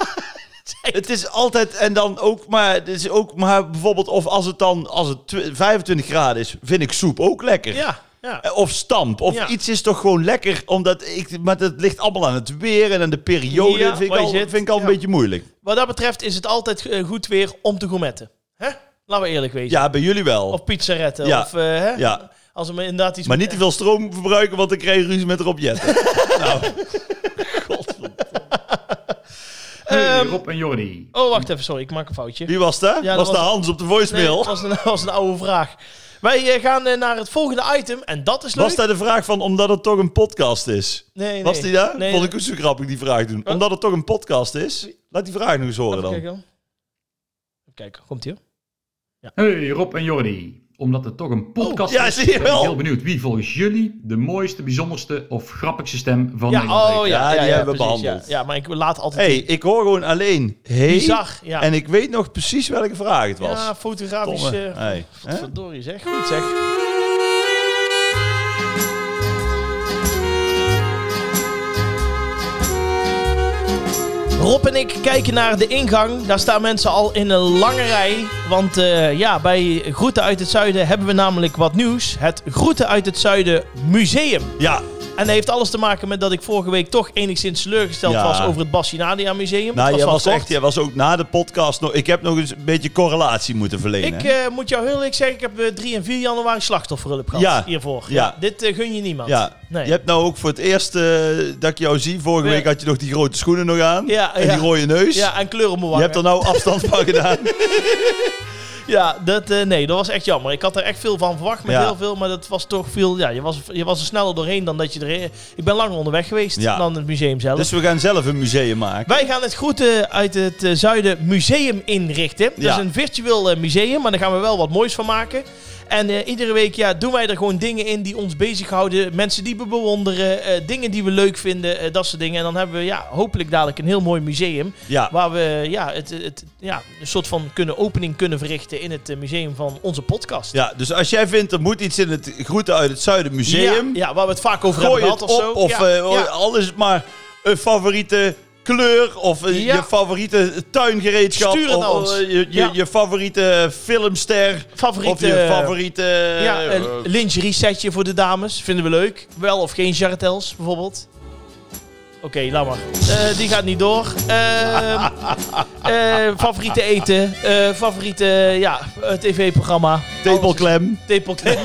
Speaker 2: Het is altijd, en dan ook maar, het is ook maar bijvoorbeeld, of als het dan, als het tw- 25 graden is, vind ik soep ook lekker.
Speaker 1: Ja, ja.
Speaker 2: Eh, Of stamp. Of
Speaker 1: Ja.
Speaker 2: iets is toch gewoon lekker. Omdat ik, maar dat ligt allemaal aan het weer en aan de periode.
Speaker 1: Ja,
Speaker 2: vind, ik
Speaker 1: waar je
Speaker 2: al,
Speaker 1: zit.
Speaker 2: vind ik al
Speaker 1: Ja.
Speaker 2: een beetje moeilijk.
Speaker 1: Wat dat betreft is het altijd eh, goed weer om te gourmetten. Hè? Laten we eerlijk wezen.
Speaker 2: Ja, bij jullie wel.
Speaker 1: Of pizzaretten.
Speaker 2: Ja.
Speaker 1: Of, eh, hè?
Speaker 2: ja.
Speaker 1: Als er maar inderdaad iets...
Speaker 2: Maar niet te veel stroom verbruiken, want ik kreeg ruzie met Rob Jetten. nou. Godverdomme.
Speaker 3: Hey,
Speaker 1: Ehm,
Speaker 3: Rob en Jordi.
Speaker 1: oh, wacht even. Sorry, ik maak een foutje.
Speaker 2: Wie was
Speaker 1: Ja,
Speaker 2: dat?
Speaker 1: dat
Speaker 2: was dat
Speaker 1: was-
Speaker 2: Hans op de
Speaker 1: Nee,
Speaker 2: voicemail?
Speaker 1: dat was, een, dat was een oude vraag. Wij eh, gaan eh, naar het volgende item. En dat is leuk.
Speaker 2: was dat de vraag van omdat het toch een podcast is?
Speaker 1: Nee, nee.
Speaker 2: Was die daar?
Speaker 1: Nee,
Speaker 2: Vond ik ook zo grappig die vraag doen. Omdat het toch een podcast is? Laat die vraag nog eens horen
Speaker 1: Even
Speaker 2: dan.
Speaker 1: kijken. Even kijken. Komt ie hoor.
Speaker 3: Hey, Rob en Jordi. Omdat het toch een podcast
Speaker 2: Oh, ja,
Speaker 3: is,
Speaker 2: zie je
Speaker 3: ben ik
Speaker 2: wel.
Speaker 3: heel benieuwd wie volgens jullie de mooiste, bijzonderste of grappigste stem van
Speaker 1: Ja,
Speaker 3: Nederland heeft.
Speaker 1: oh ja.
Speaker 2: Ja, die hebben we
Speaker 1: precies,
Speaker 2: behandeld.
Speaker 1: Ja. ja, maar ik laat altijd...
Speaker 2: hey, ik hoor gewoon alleen. Hey.
Speaker 1: Bizar. Ja,
Speaker 2: En ik weet nog precies welke vraag het was.
Speaker 1: ja fotografisch...
Speaker 2: Tomme.
Speaker 1: eh
Speaker 2: Hey, hè?
Speaker 1: Verdorie zeg. Goed zeg. Rob en ik kijken naar de ingang. Daar staan mensen al in een lange rij. Want eh, ja, bij Groeten uit het Zuiden hebben we namelijk wat nieuws. Het Groeten uit het Zuiden Museum.
Speaker 2: Ja,
Speaker 1: En dat heeft alles te maken met dat ik vorige week toch enigszins teleurgesteld
Speaker 2: Ja.
Speaker 1: was over het Bassinadia Museum. Het
Speaker 2: Nou, jij
Speaker 1: wel
Speaker 2: was,
Speaker 1: kort.
Speaker 2: echt, jij was ook na de podcast nog... Ik heb nog eens een beetje correlatie moeten verlenen.
Speaker 1: Ik
Speaker 2: hè?
Speaker 1: eh, moet jou heel eerlijk zeggen, ik heb eh, 3 en 4 januari slachtofferhulp gehad
Speaker 2: Ja.
Speaker 1: hiervoor.
Speaker 2: Ja.
Speaker 1: Dit eh, gun je niemand.
Speaker 2: ja.
Speaker 1: Nee.
Speaker 2: Je hebt nou ook voor het eerst eh, dat ik jou zie. Vorige
Speaker 1: Ja.
Speaker 2: week had je nog die grote schoenen nog aan.
Speaker 1: Ja,
Speaker 2: en
Speaker 1: ja.
Speaker 2: die rode neus.
Speaker 1: Ja, en kleur op mijn
Speaker 2: je
Speaker 1: wangen.
Speaker 2: hebt er nou afstand van gedaan.
Speaker 1: Ja, dat, eh, nee, dat was echt jammer. Ik had er echt veel van verwacht, met
Speaker 2: Ja.
Speaker 1: heel veel. Maar dat was toch veel... Ja, je was, je was er sneller doorheen dan dat je er... Ik ben langer onderweg geweest
Speaker 2: Ja.
Speaker 1: dan het museum zelf.
Speaker 2: Dus we gaan zelf een museum maken.
Speaker 1: Wij gaan het groeten uit het eh, zuiden museum inrichten. Dat
Speaker 2: Ja.
Speaker 1: is een virtueel eh, museum, maar daar gaan we wel wat moois van maken. En eh, iedere week ja, doen wij er gewoon dingen in die ons bezighouden. Mensen die we bewonderen, eh, dingen die we leuk vinden, eh, dat soort dingen. En dan hebben we ja, hopelijk dadelijk een heel mooi museum.
Speaker 2: Ja.
Speaker 1: Waar we ja, het, het, ja, een soort van kunnen, opening kunnen verrichten in het eh, museum van onze podcast.
Speaker 2: ja, dus als jij vindt er moet iets in het Groeten uit het Zuiden Museum...
Speaker 1: Ja, ja, waar we het vaak over
Speaker 2: gooi
Speaker 1: hebben
Speaker 2: het
Speaker 1: gehad
Speaker 2: op
Speaker 1: of zo.
Speaker 2: of
Speaker 1: ja,
Speaker 2: eh,
Speaker 1: ja.
Speaker 2: alles maar een favoriete kleur of eh,
Speaker 1: Ja.
Speaker 2: je favoriete tuingereedschap
Speaker 1: Stuur het
Speaker 2: of
Speaker 1: naar ons.
Speaker 2: eh, je, je,
Speaker 1: Ja.
Speaker 2: je favoriete filmster
Speaker 1: Favoriete- eh,
Speaker 2: of je favoriete
Speaker 1: Ja,
Speaker 2: eh,
Speaker 1: een lingerie setje voor de dames. Vinden we leuk. Wel of geen jarretels, bijvoorbeeld. Oké, laat maar. Eh, die gaat niet door. Ehm, eh, favoriete eten. eh, favoriete ja, eh, tv-programma.
Speaker 2: tepelklem.
Speaker 1: Tepelklem.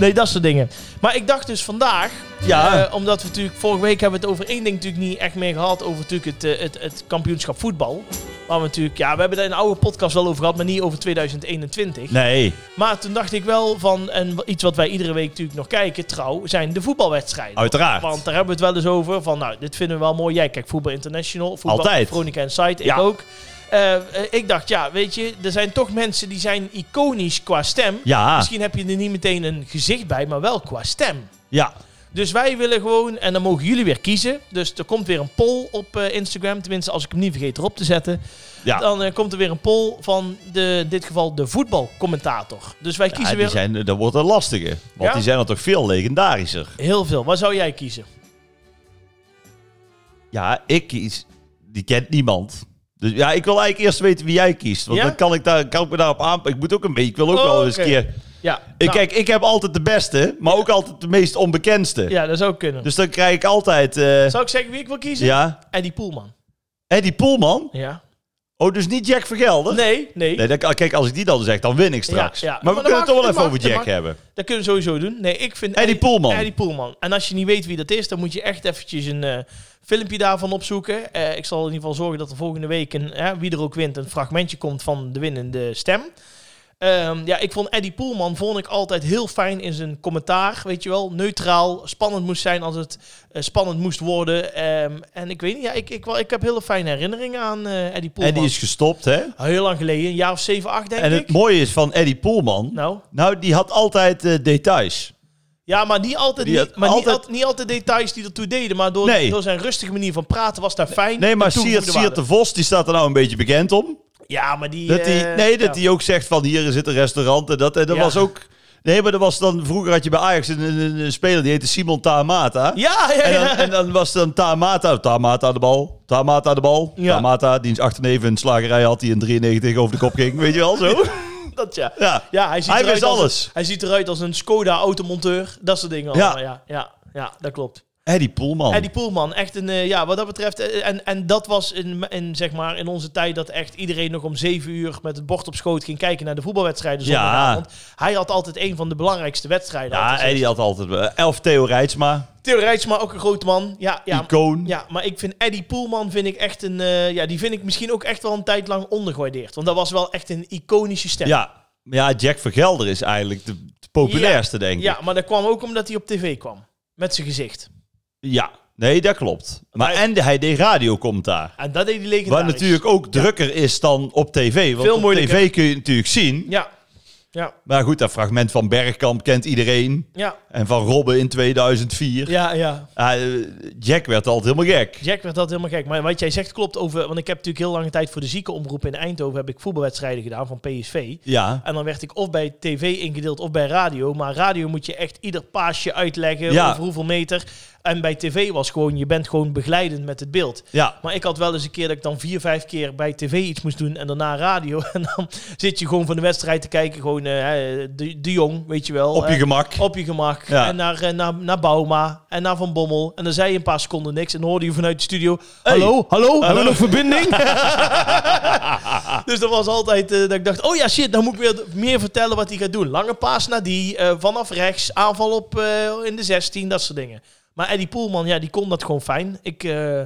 Speaker 1: nee, dat soort dingen. Maar ik dacht dus vandaag...
Speaker 2: Ja.
Speaker 1: eh, omdat we natuurlijk... Vorige week hebben we het over één ding natuurlijk niet echt meer gehad. Over natuurlijk het, eh, het, het kampioenschap voetbal. Waar we natuurlijk... Ja, we hebben daar in een oude podcast wel over gehad. Maar niet over 2021.
Speaker 2: Nee,
Speaker 1: Maar toen dacht ik wel van, en iets wat wij iedere week natuurlijk nog kijken, trouw, zijn de voetbalwedstrijden.
Speaker 2: uiteraard.
Speaker 1: Want daar hebben we het wel eens over. Van nou, dit vinden we wel mooi. Jij kijkt Voetbal International, Voetbal
Speaker 2: Altijd.
Speaker 1: Veronica Insight, ik
Speaker 2: Ja.
Speaker 1: ook. Eh, eh, ik dacht, ja, weet je, er zijn toch mensen die zijn iconisch qua stem.
Speaker 2: ja,
Speaker 1: Misschien heb je er niet meteen een gezicht bij, maar wel qua stem.
Speaker 2: ja,
Speaker 1: Dus wij willen gewoon, en dan mogen jullie weer kiezen. Dus er komt weer een poll op eh, Instagram. Tenminste, als ik hem niet vergeet erop te zetten.
Speaker 2: ja.
Speaker 1: Dan eh, komt er weer een poll van de, in dit geval de voetbalcommentator. Dus wij
Speaker 2: Ja,
Speaker 1: kiezen
Speaker 2: die
Speaker 1: weer
Speaker 2: zijn, dat wordt een lastige. Want
Speaker 1: Ja?
Speaker 2: die zijn er toch veel legendarischer.
Speaker 1: heel veel. Waar zou jij kiezen?
Speaker 2: Ja, ik kies. Die kent niemand. Dus ja, ik wil eigenlijk eerst weten wie jij kiest. Want
Speaker 1: Ja?
Speaker 2: dan kan ik, daar, kan ik me daarop aanpakken. Ik moet ook een beetje. Ik wil ook
Speaker 1: Oh,
Speaker 2: wel eens een
Speaker 1: oké.
Speaker 2: keer.
Speaker 1: Ja,
Speaker 2: Ik,
Speaker 1: nou,
Speaker 2: Kijk, ik heb altijd de beste, maar ook altijd de meest onbekendste.
Speaker 1: ja dat zou kunnen.
Speaker 2: Dus dan krijg ik altijd. eh
Speaker 1: zou ik zeggen wie ik wil kiezen?
Speaker 2: ja.
Speaker 1: Eddie Poelman.
Speaker 2: Eddie Poelman.
Speaker 1: Ja.
Speaker 2: Oh, dus niet Jack Vergelder?
Speaker 1: Nee, nee.
Speaker 2: Nee, dan- ah, kijk, als ik die dan zeg, dan win ik straks.
Speaker 1: Ja, ja.
Speaker 2: Maar
Speaker 1: Maar
Speaker 2: we
Speaker 1: dat
Speaker 2: kunnen het
Speaker 1: mag,
Speaker 2: toch wel
Speaker 1: dat
Speaker 2: even over
Speaker 1: mag,
Speaker 2: Jack
Speaker 1: dat
Speaker 2: hebben.
Speaker 1: Dat kunnen we sowieso doen. Nee, ik vind...
Speaker 2: Eddie Poelman.
Speaker 1: Eddie Poelman. En als je niet weet wie dat is, dan moet je echt eventjes een eh, filmpje daarvan opzoeken. Eh, ik zal in ieder geval zorgen dat er volgende week, een, eh, wie er ook wint, een fragmentje komt van de winnende stem. Ehm, ja, ik vond Eddie Poelman vond ik altijd heel fijn in zijn commentaar. Weet je wel, neutraal, spannend moest zijn als het eh, spannend moest worden. Ehm, en ik weet niet, ja, ik, ik, wel, ik heb hele fijne herinneringen aan eh Eddie Poelman.
Speaker 2: Eddie is gestopt, hè?
Speaker 1: Heel lang geleden, een jaar of 7, 8 denk
Speaker 2: En
Speaker 1: ik.
Speaker 2: het mooie is van Eddie Poelman. Nou,
Speaker 1: nou,
Speaker 2: die had altijd eh, details.
Speaker 1: Ja, maar niet altijd,
Speaker 2: Die
Speaker 1: niet,
Speaker 2: had
Speaker 1: maar niet,
Speaker 2: altijd-
Speaker 1: al- niet altijd details die ertoe deden. Maar door,
Speaker 2: Nee.
Speaker 1: door zijn rustige manier van praten was daar fijn.
Speaker 2: Nee, maar
Speaker 1: en
Speaker 2: Siert,
Speaker 1: toegevoegde
Speaker 2: Siert de
Speaker 1: waarde.
Speaker 2: Vos, die staat er nou een beetje bekend om.
Speaker 1: Ja, maar die...
Speaker 2: Dat die,
Speaker 1: eh,
Speaker 2: nee, dat
Speaker 1: ja.
Speaker 2: hij ook zegt van hier zit een restaurant. En dat, en dat
Speaker 1: Ja.
Speaker 2: was ook... Nee, maar dat was dan... Vroeger had je bij Ajax een, een, een speler die heette Simon Taamata.
Speaker 1: Ja, ja,
Speaker 2: En dan,
Speaker 1: ja.
Speaker 2: en dan was dan Tamata, Tamata de bal, Tamata de bal,
Speaker 1: Ja.
Speaker 2: Tamata, diens achterneef een slagerij had die in 93 over de kop ging, weet je wel zo?
Speaker 1: dat ja.
Speaker 2: Ja,
Speaker 1: Ja, hij ziet
Speaker 2: Hij
Speaker 1: eruit
Speaker 2: wist
Speaker 1: als
Speaker 2: alles.
Speaker 1: Een, hij ziet eruit als een Skoda-automonteur. Dat soort dingen
Speaker 2: Ja.
Speaker 1: allemaal, ja. Ja, ja, dat klopt.
Speaker 2: Eddie Poelman.
Speaker 1: Eddie Poelman, echt een, eh, ja, wat dat betreft. eh, en, en dat was in, in, zeg maar, in onze tijd dat echt iedereen nog om zeven uur met het bord op schoot ging kijken naar de voetbalwedstrijden.
Speaker 2: Ja.
Speaker 1: Zondagavond. Hij had altijd een van de belangrijkste wedstrijden.
Speaker 2: ja,
Speaker 1: altijd.
Speaker 2: Eddie had altijd wel- elf Theo Rijtsma,
Speaker 1: Theo Rijtsma, ook een grote man. Ja, ja,
Speaker 2: icoon.
Speaker 1: Ja, maar ik vind Eddie Poelman vind ik echt een. eh, ja, die vind ik misschien ook echt wel een tijd lang ondergewaardeerd. Want dat was wel echt een iconische stem.
Speaker 2: Ja. Maar ja, Jack Vergelder is eigenlijk de, de populairste, denk ik.
Speaker 1: Ja, maar dat kwam ook omdat hij op tv kwam. Met zijn gezicht.
Speaker 2: Ja, nee, dat klopt. Maar en de, hij deed radiocommentaar.
Speaker 1: En dat deed hij
Speaker 2: Waar
Speaker 1: legendarisch.
Speaker 2: natuurlijk ook drukker is dan op tv. Want
Speaker 1: Veel
Speaker 2: op
Speaker 1: moeilijker.
Speaker 2: tv kun je het natuurlijk zien.
Speaker 1: Ja. Ja.
Speaker 2: Maar goed, dat fragment van Bergkamp kent iedereen.
Speaker 1: Ja.
Speaker 2: En van Robben in 2004.
Speaker 1: Ja, ja.
Speaker 2: Ah, eh, Jack werd altijd helemaal gek.
Speaker 1: Jack werd dat helemaal gek. Maar wat jij zegt klopt over... Want ik heb natuurlijk heel lange tijd voor de ziekenomroep in Eindhoven... heb ik voetbalwedstrijden gedaan van PSV.
Speaker 2: Ja.
Speaker 1: En dan werd ik of bij tv ingedeeld of bij radio. Maar radio moet je echt ieder paasje uitleggen.
Speaker 2: Ja.
Speaker 1: Over hoeveel meter. En bij tv was gewoon, je bent gewoon begeleidend met het beeld.
Speaker 2: Ja,
Speaker 1: Maar ik had wel eens een keer dat ik dan vier, vijf keer bij tv iets moest doen en daarna radio. En dan zit je gewoon van de wedstrijd te kijken, gewoon eh, de, de Jong, weet je wel.
Speaker 2: op je
Speaker 1: Eh,
Speaker 2: gemak.
Speaker 1: op je gemak.
Speaker 2: Ja.
Speaker 1: En naar, eh, naar, naar Bauma en naar Van Bommel. En dan zei je een paar seconden niks. En dan hoorde je vanuit de studio: Hallo, hallo, hebben we nog verbinding? dus dat was altijd eh, dat ik dacht: Oh ja, shit, dan moet ik weer meer vertellen wat hij gaat doen. Lange paas naar die, eh, vanaf rechts, aanval op eh, in de 16, dat soort dingen. Maar Eddie Poelman, ja, die kon dat gewoon fijn. Ik, eh,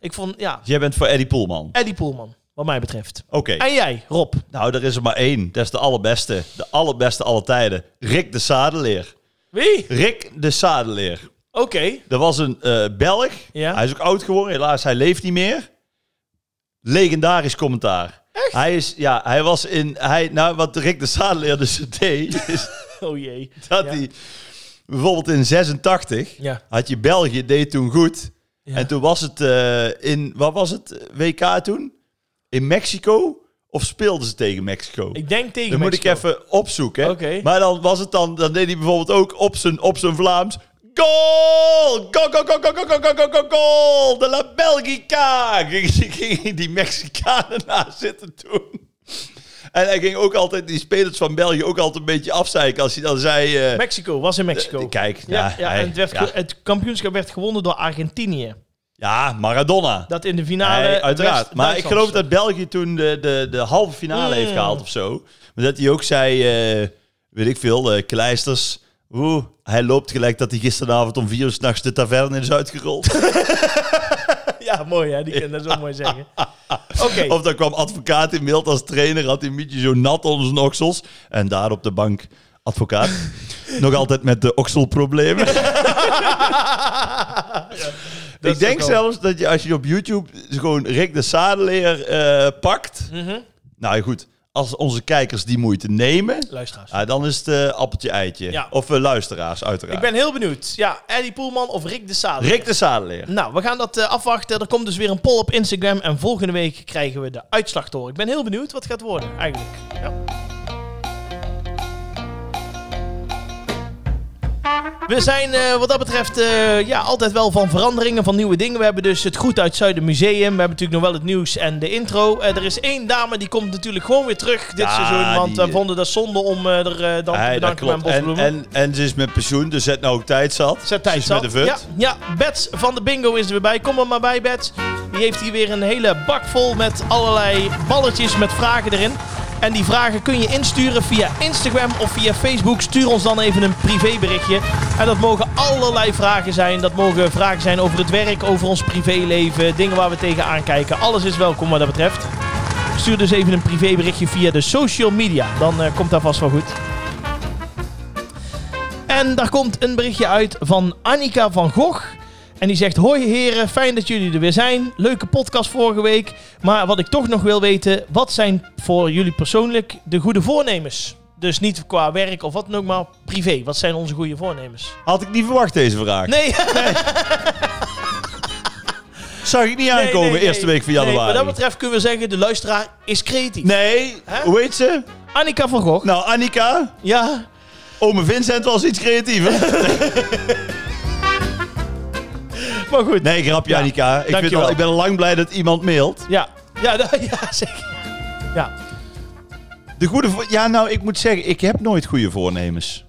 Speaker 1: ik vond, ja,
Speaker 2: Jij bent voor Eddie Poelman.
Speaker 1: Eddie Poelman, wat mij betreft.
Speaker 2: Oké.
Speaker 1: En jij, Rob.
Speaker 2: Nou, er is er maar één. Dat is de allerbeste. De allerbeste alle tijden. Rick de Sadeleer.
Speaker 1: Wie?
Speaker 2: Rick de Sadeleer.
Speaker 1: Oké.
Speaker 2: Dat was een eh, Belg.
Speaker 1: Ja.
Speaker 2: Hij is ook oud geworden. Helaas, hij leeft niet meer. Legendarisch commentaar. Echt? Hij is, ja, hij was in, hij, nou, wat Rick de Sadeleer dus deed, is
Speaker 1: Oh jee.
Speaker 2: dat
Speaker 1: Ja.
Speaker 2: hij, bijvoorbeeld in 86,
Speaker 1: Ja.
Speaker 2: had je België, deed toen goed.
Speaker 1: Ja.
Speaker 2: En toen was het eh, in, wat was het, WK toen? In Mexico? Of speelden ze tegen Mexico?
Speaker 1: Ik denk tegen
Speaker 2: Dan moet ik
Speaker 1: Mexico.
Speaker 2: even opzoeken. hè.
Speaker 1: Oké.
Speaker 2: Maar dan was het dan, dan deed hij bijvoorbeeld ook op zijn, op zijn Vlaams. Goal! Goal, goal, goal, goal, goal, goal, goal, goal, goal! De La Belgica! Ging, ging die Mexicanen na zitten toen. En hij ging ook altijd die spelers van België ook altijd een beetje afzeiken als hij dan zei... eh,
Speaker 1: Mexico, was in Mexico.
Speaker 2: Kijk,
Speaker 1: Ja,
Speaker 2: ja,
Speaker 1: ja,
Speaker 2: hij-
Speaker 1: en het, werd
Speaker 2: ja.
Speaker 1: ge- het kampioenschap werd gewonnen door Argentinië.
Speaker 2: Ja, Maradona.
Speaker 1: Dat in de finale.
Speaker 2: Nee, uiteraard.
Speaker 1: West-
Speaker 2: maar ik
Speaker 1: Duitsland
Speaker 2: geloof dat
Speaker 1: stond.
Speaker 2: België toen de, de, de halve finale
Speaker 1: Mm.
Speaker 2: heeft gehaald of zo. Maar dat hij ook zei, eh, weet ik veel, eh, kleisters. Oeh, hij loopt gelijk dat hij gisteravond om vier uur s'nachts de taverne is uitgerold.
Speaker 1: Ja, mooi hè, die kan dat zo mooi zeggen. Oké,
Speaker 2: of dan kwam advocaat in beeld als trainer, had hij een beetje zo nat onder zijn oksels. En daar op de bank, advocaat. Nog altijd met de okselproblemen.
Speaker 1: dat
Speaker 2: ik
Speaker 1: is
Speaker 2: denk
Speaker 1: ook wel-
Speaker 2: zelfs dat je als je op YouTube gewoon Rick de Sadeleer eh, pakt.
Speaker 1: Mhm.
Speaker 2: Nou ja, goed, als onze kijkers die moeite nemen,
Speaker 1: luisteraars.
Speaker 2: ja, dan is het eh, appeltje-eitje.
Speaker 1: Ja.
Speaker 2: Of eh, luisteraars, uiteraard.
Speaker 1: Ik ben heel benieuwd. Ja, Eddie Poelman of Rick de Sade.
Speaker 2: Rick de Sadeleer.
Speaker 1: Nou, we gaan dat eh, afwachten. Er komt dus weer een poll op Instagram. En volgende week krijgen we de uitslag door. Ik ben heel benieuwd wat het gaat worden, eigenlijk. Ja. We zijn eh, wat dat betreft eh, ja, altijd wel van veranderingen, van nieuwe dingen. We hebben dus het Goed uit Zuiden Museum. We hebben natuurlijk nog wel het nieuws en de intro. Eh, er is één dame die komt natuurlijk gewoon weer terug dit
Speaker 2: Ja,
Speaker 1: seizoen. Want
Speaker 2: die-
Speaker 1: we vonden dat zonde om eh, er eh, dan te
Speaker 2: Hey, dat
Speaker 1: bedanken aan
Speaker 2: klopt. En,
Speaker 1: Bosbloemen.
Speaker 2: en, en ze is met pensioen, dus zet nou ook tijd zat.
Speaker 1: Zet tijd
Speaker 2: Ze is
Speaker 1: zat.
Speaker 2: met de
Speaker 1: Ja,
Speaker 2: vut.
Speaker 1: ja, Bets van de Bingo is er weer bij. Kom er maar bij, Bets. Die heeft hier weer een hele bak vol met allerlei balletjes met vragen erin. En die vragen kun je insturen via Instagram of via Facebook. Stuur ons dan even een privéberichtje. En dat mogen allerlei vragen zijn. Dat mogen vragen zijn over het werk, over ons privéleven, dingen waar we tegenaan kijken. Alles is welkom wat dat betreft. Stuur dus even een privéberichtje via de social media. Dan eh, komt dat vast wel goed. En daar komt een berichtje uit van Annika van Gogh. En die zegt: Hoi heren, fijn dat jullie er weer zijn. Leuke podcast vorige week. Maar wat ik toch nog wil weten: wat zijn voor jullie persoonlijk de goede voornemens? Dus niet qua werk of wat dan ook, maar privé. Wat zijn onze goede voornemens?
Speaker 2: Had ik niet verwacht deze vraag.
Speaker 1: Nee,
Speaker 2: Zag ik niet aankomen,
Speaker 1: nee, nee,
Speaker 2: eerste week van
Speaker 1: nee,
Speaker 2: januari.
Speaker 1: wat dat betreft kunnen we zeggen: de luisteraar is creatief.
Speaker 2: Nee,
Speaker 1: Hè?
Speaker 2: hoe heet ze?
Speaker 1: Annika van Gogh.
Speaker 2: Nou, Annika,
Speaker 1: Ja,
Speaker 2: ome Vincent was iets creatiever.
Speaker 1: maar goed.
Speaker 2: Nee, grapje
Speaker 1: Ja,
Speaker 2: Annika. Ik, vind
Speaker 1: dankjewel.
Speaker 2: wel, ik ben al lang blij dat iemand mailt.
Speaker 1: Ja, ja, da- ja zeker. Ja.
Speaker 2: De goede vo- Ja, nou, ik moet zeggen, ik heb nooit goede voornemens.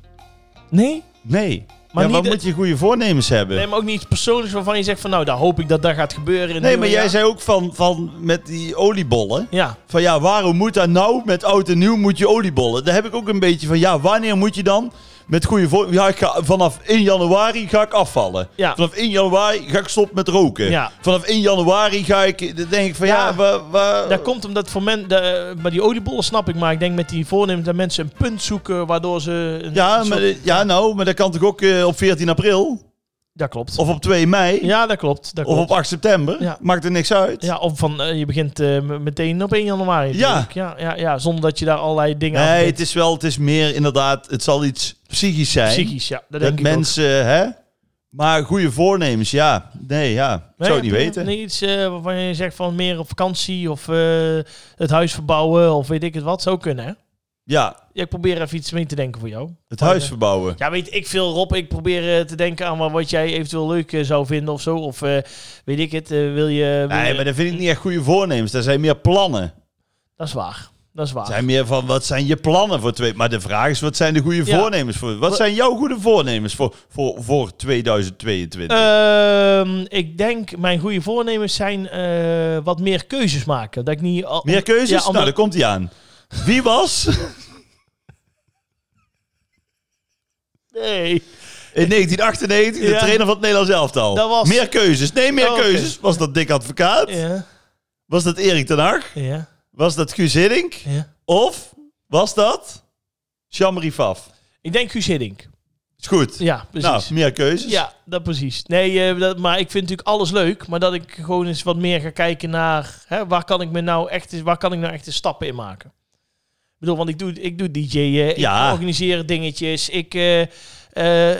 Speaker 1: Nee?
Speaker 2: Nee.
Speaker 1: Maar
Speaker 2: Maar
Speaker 1: niet
Speaker 2: wat
Speaker 1: dat-
Speaker 2: moet je goede voornemens hebben?
Speaker 1: Nee, maar ook niet persoonlijks waarvan je zegt: van nou, daar hoop ik dat dat gaat gebeuren. in het
Speaker 2: Nee,
Speaker 1: nieuwe
Speaker 2: maar jij
Speaker 1: jaar.
Speaker 2: zei ook van, van met die oliebollen.
Speaker 1: Ja,
Speaker 2: Van ja, waarom moet dat nou? Met oud en nieuw moet je oliebollen. Daar heb ik ook een beetje van. Ja, wanneer moet je dan? Met goede voor. Ja, ik ga, vanaf 1 januari ga ik afvallen.
Speaker 1: Ja.
Speaker 2: Vanaf 1 januari ga ik stoppen met roken.
Speaker 1: Ja.
Speaker 2: Vanaf 1 januari ga ik. Dan denk ik van
Speaker 1: Ja,
Speaker 2: ja, waar. waar-
Speaker 1: Dat komt omdat voor men, de, maar die oliebollen snap ik, maar ik denk met die voornemens dat mensen een punt zoeken waardoor ze. Een,
Speaker 2: ja,
Speaker 1: een
Speaker 2: maar,
Speaker 1: soort-
Speaker 2: ja, nou, maar dat kan toch ook eh, op 14 april?
Speaker 1: dat klopt.
Speaker 2: Of op 2 mei?
Speaker 1: ja, dat klopt. Dat
Speaker 2: Of
Speaker 1: klopt.
Speaker 2: op 8 september?
Speaker 1: Ja.
Speaker 2: Maakt er niks uit.
Speaker 1: ja, of van eh, je begint eh, m- meteen op 1 januari.
Speaker 2: Ja.
Speaker 1: natuurlijk. ja, ja, ja, zonder dat je daar allerlei dingen aan
Speaker 2: Nee,
Speaker 1: verbindt.
Speaker 2: het is wel, het is meer inderdaad, het zal iets psychisch zijn.
Speaker 1: psychisch. Ja, dat, denk
Speaker 2: dat
Speaker 1: ik
Speaker 2: mensen, hè? Maar goede voornemens, ja. Nee, ja. Ik
Speaker 1: ook. Nee,
Speaker 2: zou het niet
Speaker 1: heb je
Speaker 2: weten.
Speaker 1: niet Iets eh, waarvan je zegt van meer op vakantie of eh, het huis verbouwen of weet ik het wat zou kunnen. Hè?
Speaker 2: Ja,
Speaker 1: Ja, ik probeer even iets mee te denken voor jou.
Speaker 2: het huis verbouwen.
Speaker 1: Oh, Ja, weet ik veel, Rob. Ik probeer eh, te denken aan wat jij eventueel leuk eh, zou vinden of zo. Of eh, weet ik het, eh, wil je... wil
Speaker 2: Nee,
Speaker 1: je-
Speaker 2: maar dat vind ik niet echt goede voornemens. Dat zijn meer plannen.
Speaker 1: Dat is waar. Dat is
Speaker 2: Het
Speaker 1: waar.
Speaker 2: zijn meer van, wat zijn je plannen voor twee... Maar de vraag is, wat zijn de goede
Speaker 1: Ja.
Speaker 2: voornemens voor... Wat zijn jouw goede voornemens voor, voor, voor 2022?
Speaker 1: Ehm, ik denk, mijn goede voornemens zijn eh, wat meer keuzes maken. Dat ik niet... al-
Speaker 2: meer keuzes?
Speaker 1: Ja,
Speaker 2: Nou,
Speaker 1: ander-
Speaker 2: daar komt hij aan. Wie was
Speaker 1: Nee.
Speaker 2: in 1998 de
Speaker 1: Ja.
Speaker 2: trainer van het Nederlands elftal?
Speaker 1: Dat was-
Speaker 2: Meer keuzes. Nee, meer
Speaker 1: Oh, oké.
Speaker 2: keuzes. Was dat Dick Advocaat?
Speaker 1: Ja,
Speaker 2: Was dat Erik ten Hag?
Speaker 1: ja,
Speaker 2: Was dat Guus Hiddink?
Speaker 1: ja.
Speaker 2: Of was dat Shamri Faf?
Speaker 1: Ik denk Guus Hiddink.
Speaker 2: Is goed.
Speaker 1: Ja, precies.
Speaker 2: Nou, meer keuzes.
Speaker 1: Ja, dat precies. Nee, eh, dat, maar ik vind natuurlijk alles leuk. Maar dat ik gewoon eens wat meer ga kijken naar hè, waar kan ik me nou echt, waar kan ik nou echt de stappen in maken. Ik bedoel, want ik doe, ik doe DJ, eh,
Speaker 2: Ja.
Speaker 1: ik organiseer dingetjes, ik eh, eh,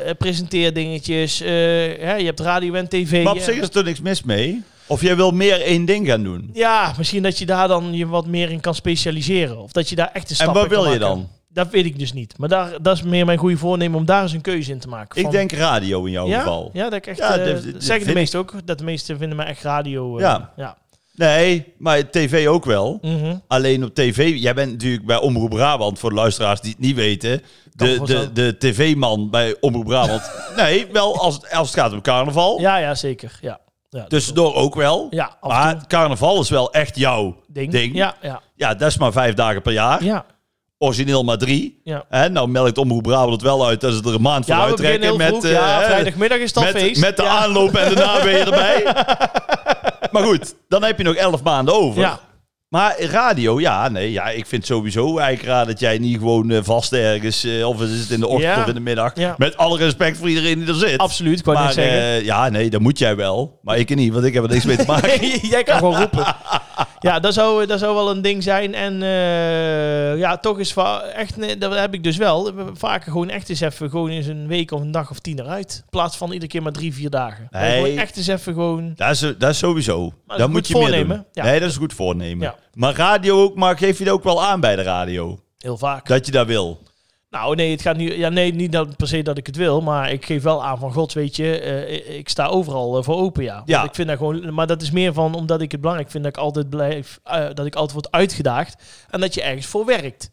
Speaker 1: eh, presenteer dingetjes. eh, hè, je hebt radio en tv.
Speaker 2: Maar op
Speaker 1: eh.
Speaker 2: zich is er niks mis mee. Of jij wil meer één ding gaan doen.
Speaker 1: ja, misschien dat je daar dan je wat meer in kan specialiseren. Of dat je daar echt de stappen
Speaker 2: wat
Speaker 1: in kan
Speaker 2: wil je
Speaker 1: maken.
Speaker 2: dan?
Speaker 1: Dat weet ik dus niet. Maar daar, dat is meer mijn goede voornemen om daar eens een keuze in te maken.
Speaker 2: Ik
Speaker 1: Van-
Speaker 2: denk radio in jouw
Speaker 1: ja?
Speaker 2: geval.
Speaker 1: Ja, dat ik echt. eh,
Speaker 2: Ja, dat- dat
Speaker 1: dat
Speaker 2: vind
Speaker 1: zeggen de
Speaker 2: ik-
Speaker 1: meesten ook. Dat de meesten vinden mij echt radio. eh,
Speaker 2: Ja.
Speaker 1: ja.
Speaker 2: Nee, maar tv ook wel.
Speaker 1: Mhm.
Speaker 2: Alleen op tv, jij bent natuurlijk bij Omroep Brabant, voor de luisteraars die het niet weten, de,
Speaker 1: gewoon
Speaker 2: de,
Speaker 1: zo.
Speaker 2: de tv-man bij Omroep Brabant. nee, wel als, als het gaat om carnaval.
Speaker 1: ja, ja, zeker. Ja. Ja,
Speaker 2: Tussendoor ook wel.
Speaker 1: Ja, af en
Speaker 2: Dus- maar carnaval is wel echt jouw
Speaker 1: ding.
Speaker 2: ding.
Speaker 1: Ja, ja,
Speaker 2: Ja, dat is maar vijf dagen per jaar.
Speaker 1: ja.
Speaker 2: Origineel maar drie.
Speaker 1: ja.
Speaker 2: Hè, nou melkt Omroep Brabant het wel uit dat ze er een maand voor
Speaker 1: Ja, we beginnen
Speaker 2: uittrekken.
Speaker 1: heel
Speaker 2: Met,
Speaker 1: vroeg.
Speaker 2: eh,
Speaker 1: ja,
Speaker 2: hè,
Speaker 1: vrijdagmiddag is dat
Speaker 2: met,
Speaker 1: feest.
Speaker 2: met de
Speaker 1: ja.
Speaker 2: aanloop en de naweer erbij. maar goed, dan heb je nog elf maanden over.
Speaker 1: Ja.
Speaker 2: Maar radio, ja, nee, ja, ik vind sowieso eigenlijk raar dat jij niet gewoon eh, vast ergens, eh, of is het in de ochtend
Speaker 1: Ja.
Speaker 2: of in de middag,
Speaker 1: Ja.
Speaker 2: met alle respect voor iedereen die er zit.
Speaker 1: Absoluut, ik wou
Speaker 2: Maar
Speaker 1: net zeggen.
Speaker 2: eh, ja, nee, dat moet jij wel. Maar ik niet, want ik heb er niks mee te maken.
Speaker 1: Jij kan gewoon roepen. Ja, dat zou, dat zou wel een ding zijn. En eh, ja, toch is va- echt, nee, dat heb ik dus wel. Vaker gewoon echt eens even, gewoon eens een week of een dag of tien eruit. In plaats van iedere keer maar drie, vier dagen. Maar
Speaker 2: Nee.
Speaker 1: Gewoon echt eens even gewoon.
Speaker 2: Dat is, dat is sowieso.
Speaker 1: is
Speaker 2: Dat,
Speaker 1: een
Speaker 2: moet
Speaker 1: goed
Speaker 2: je meer
Speaker 1: voornemen.
Speaker 2: doen.
Speaker 1: Ja.
Speaker 2: Nee, dat is een goed voornemen.
Speaker 1: Ja.
Speaker 2: Maar radio ook, maar geef je dat ook wel aan bij de radio?
Speaker 1: Heel vaak.
Speaker 2: Dat je dat wil.
Speaker 1: Nou, nee, het gaat nu. Ja, nee, niet dat, per se dat ik het wil, maar ik geef wel aan van God, weet je, eh, ik sta overal eh, voor open, ja. Want
Speaker 2: Ja.
Speaker 1: Ik vind dat gewoon, maar dat is meer van omdat ik het belangrijk vind dat ik altijd blijf, eh, dat ik altijd word uitgedaagd en dat je ergens voor werkt.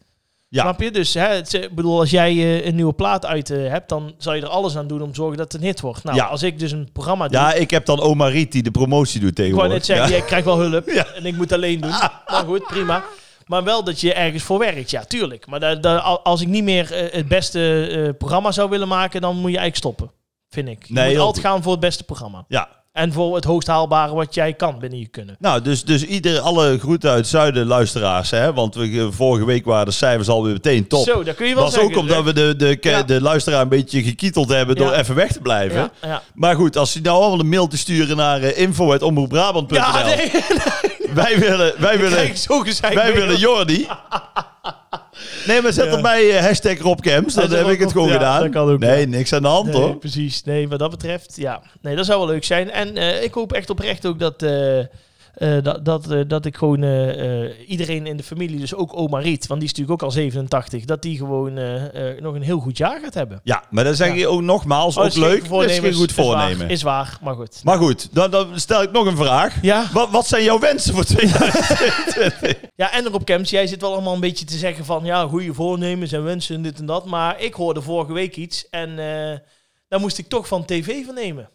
Speaker 2: Ja.
Speaker 1: Snap je? Dus, hè, het, eh, ik bedoel, als jij eh, een nieuwe plaat uit eh, hebt, dan zal je er alles aan doen om te zorgen dat het een hit wordt. Nou,
Speaker 2: Ja.
Speaker 1: als ik dus een programma doe,
Speaker 2: Ja, ik heb dan Oma Riet die de promotie doet
Speaker 1: ik wou
Speaker 2: tegenwoordig.
Speaker 1: net zeggen,
Speaker 2: Ja.
Speaker 1: jij krijgt wel hulp
Speaker 2: Ja.
Speaker 1: en ik moet alleen doen. Maar goed, prima. Maar wel dat je ergens voor werkt, ja, tuurlijk. Maar da- da- al- als ik niet meer eh, het beste eh, programma zou willen maken, dan moet je eigenlijk stoppen, vind ik. Je
Speaker 2: Nee,
Speaker 1: moet
Speaker 2: heel
Speaker 1: altijd gaan voor het beste programma.
Speaker 2: Ja.
Speaker 1: En voor het hoogst haalbare wat jij kan binnen je kunnen.
Speaker 2: Nou, dus, dus ieder, alle groeten uit het zuiden luisteraars. Hè? Want we, eh, vorige week waren de cijfers alweer meteen top.
Speaker 1: Zo, dat kun je wel
Speaker 2: was
Speaker 1: zeggen.
Speaker 2: ook omdat we de, de, ke-
Speaker 1: Ja.
Speaker 2: de luisteraar een beetje gekieteld hebben door
Speaker 1: Ja.
Speaker 2: even weg te blijven.
Speaker 1: Ja, ja.
Speaker 2: Maar goed, als hij nou allemaal een mail te sturen naar eh, info.omroepbrabant.nl.
Speaker 1: ja nee, dat
Speaker 2: Wij willen, wij
Speaker 1: krijg
Speaker 2: willen,
Speaker 1: ik zo gezeik
Speaker 2: wij
Speaker 1: mee,
Speaker 2: willen
Speaker 1: hoor.
Speaker 2: Jordi. Nee, maar zet
Speaker 1: Ja.
Speaker 2: op mij eh, hashtag Rob Camps. Dan
Speaker 1: Dat is
Speaker 2: heb
Speaker 1: ook
Speaker 2: ik het
Speaker 1: nog-
Speaker 2: gewoon
Speaker 1: ja,
Speaker 2: gedaan.
Speaker 1: dat kan ook,
Speaker 2: nee,
Speaker 1: ja.
Speaker 2: niks aan de hand
Speaker 1: Nee,
Speaker 2: hoor.
Speaker 1: precies. Nee, wat dat betreft, ja. Nee, dat zou wel leuk zijn. En eh, ik hoop echt oprecht ook dat, eh, eh, dat, dat, eh, dat ik gewoon eh, eh, iedereen in de familie, dus ook oma Riet, want die is natuurlijk ook al 87, dat die gewoon eh, eh, nog een heel goed jaar gaat hebben.
Speaker 2: Ja, maar dan zeg
Speaker 1: Ja.
Speaker 2: je ook nogmaals,
Speaker 1: Oh,
Speaker 2: ook
Speaker 1: geen
Speaker 2: leuk. Dat is geen
Speaker 1: voornemens,
Speaker 2: goed
Speaker 1: is waar,
Speaker 2: voornemen.
Speaker 1: Is waar, maar goed.
Speaker 2: Maar goed, dan, dan stel ik nog een vraag.
Speaker 1: Ja.
Speaker 2: Wat, wat zijn jouw wensen voor 2000?
Speaker 1: ja, en Rob Kemps, jij zit wel allemaal een beetje te zeggen van ja, goede voornemens en wensen en dit en dat. Maar ik hoorde vorige week iets en eh, daar moest ik toch van tv van nemen.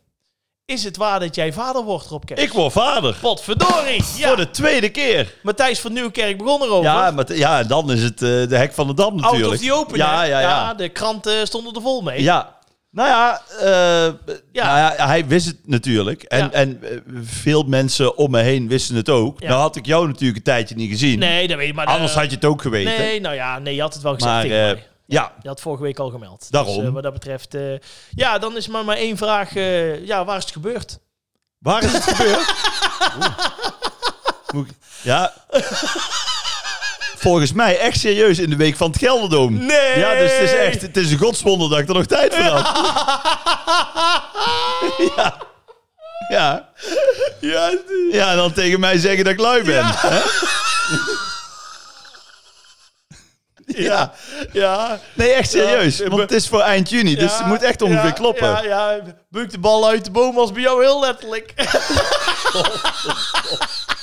Speaker 1: Is het waar dat jij vader wordt, Rob Kemps?
Speaker 2: Ik word vader.
Speaker 1: Potverdorie! Ja.
Speaker 2: Voor de tweede keer.
Speaker 1: Matthijs van Nieuwkerk begon erover.
Speaker 2: Ja, maar t- ja, dan is het eh, de hek van de dam
Speaker 1: Out
Speaker 2: natuurlijk.
Speaker 1: of the open.
Speaker 2: Ja,
Speaker 1: hè?
Speaker 2: ja, ja.
Speaker 1: de kranten stonden er vol mee.
Speaker 2: Ja. Nou ja, eh, Nou ja, hij wist het natuurlijk. En,
Speaker 1: Ja.
Speaker 2: en eh, veel mensen om me heen wisten het ook.
Speaker 1: Ja.
Speaker 2: Nou had ik jou natuurlijk een tijdje niet gezien.
Speaker 1: Nee, dat weet je maar.
Speaker 2: Anders
Speaker 1: eh,
Speaker 2: had je het ook geweten.
Speaker 1: Nee, nou ja, nee, je had het wel gezegd
Speaker 2: maar
Speaker 1: tegen
Speaker 2: eh,
Speaker 1: mij.
Speaker 2: ja,
Speaker 1: Je had vorige week al gemeld. Dus,
Speaker 2: Daarom.
Speaker 1: eh, wat dat betreft. eh, ja, dan is maar maar één vraag. eh, ja, waar is het gebeurd?
Speaker 2: waar is het gebeurd? Oeh. Moet ik- Ja. Volgens mij echt serieus in de week van het Gelderdoom.
Speaker 1: Nee!
Speaker 2: Ja, dus het is echt het is een godswonder dat ik er nog tijd voor had. ja. Ja. Ja, ja, en dan tegen mij zeggen dat ik lui ben. hè? Ja. Ja, ja.
Speaker 1: Nee, echt
Speaker 2: serieus. Want het is voor eind juni, dus het moet echt ongeveer
Speaker 1: ja,
Speaker 2: kloppen.
Speaker 1: Ja, ja, beuk de bal uit de boom was bij jou heel letterlijk.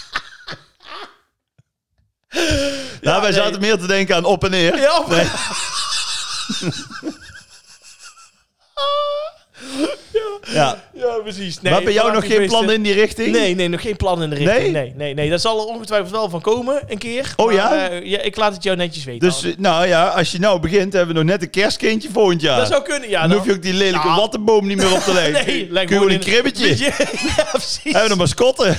Speaker 2: nou, wij
Speaker 1: nee.
Speaker 2: zaten meer te denken aan op en neer.
Speaker 1: Ja, maar-
Speaker 2: Ja.
Speaker 1: ja precies. Nee,
Speaker 2: maar bij jou
Speaker 1: laat
Speaker 2: nog
Speaker 1: ik
Speaker 2: geen
Speaker 1: wisten.
Speaker 2: plannen in die richting?
Speaker 1: Nee, nee, nog geen plan in de richting.
Speaker 2: Nee?
Speaker 1: Nee? Nee, nee, Daar zal er ongetwijfeld wel van komen, een keer.
Speaker 2: Oh
Speaker 1: Maar,
Speaker 2: ja?
Speaker 1: eh, ja? Ik laat het jou netjes weten.
Speaker 2: Dus
Speaker 1: Arne.
Speaker 2: eh, nou ja, als je nou begint, hebben we nog net een kerstkindje volgend jaar.
Speaker 1: dat zou kunnen, ja.
Speaker 2: dan
Speaker 1: dan-
Speaker 2: hoef je ook die lelijke
Speaker 1: Nou.
Speaker 2: wattenboom niet meer op te leggen.
Speaker 1: Nee,
Speaker 2: Kun je
Speaker 1: leg
Speaker 2: gewoon een
Speaker 1: in-
Speaker 2: kribbetje.
Speaker 1: Ja, precies.
Speaker 2: Hebben we nog mascotten.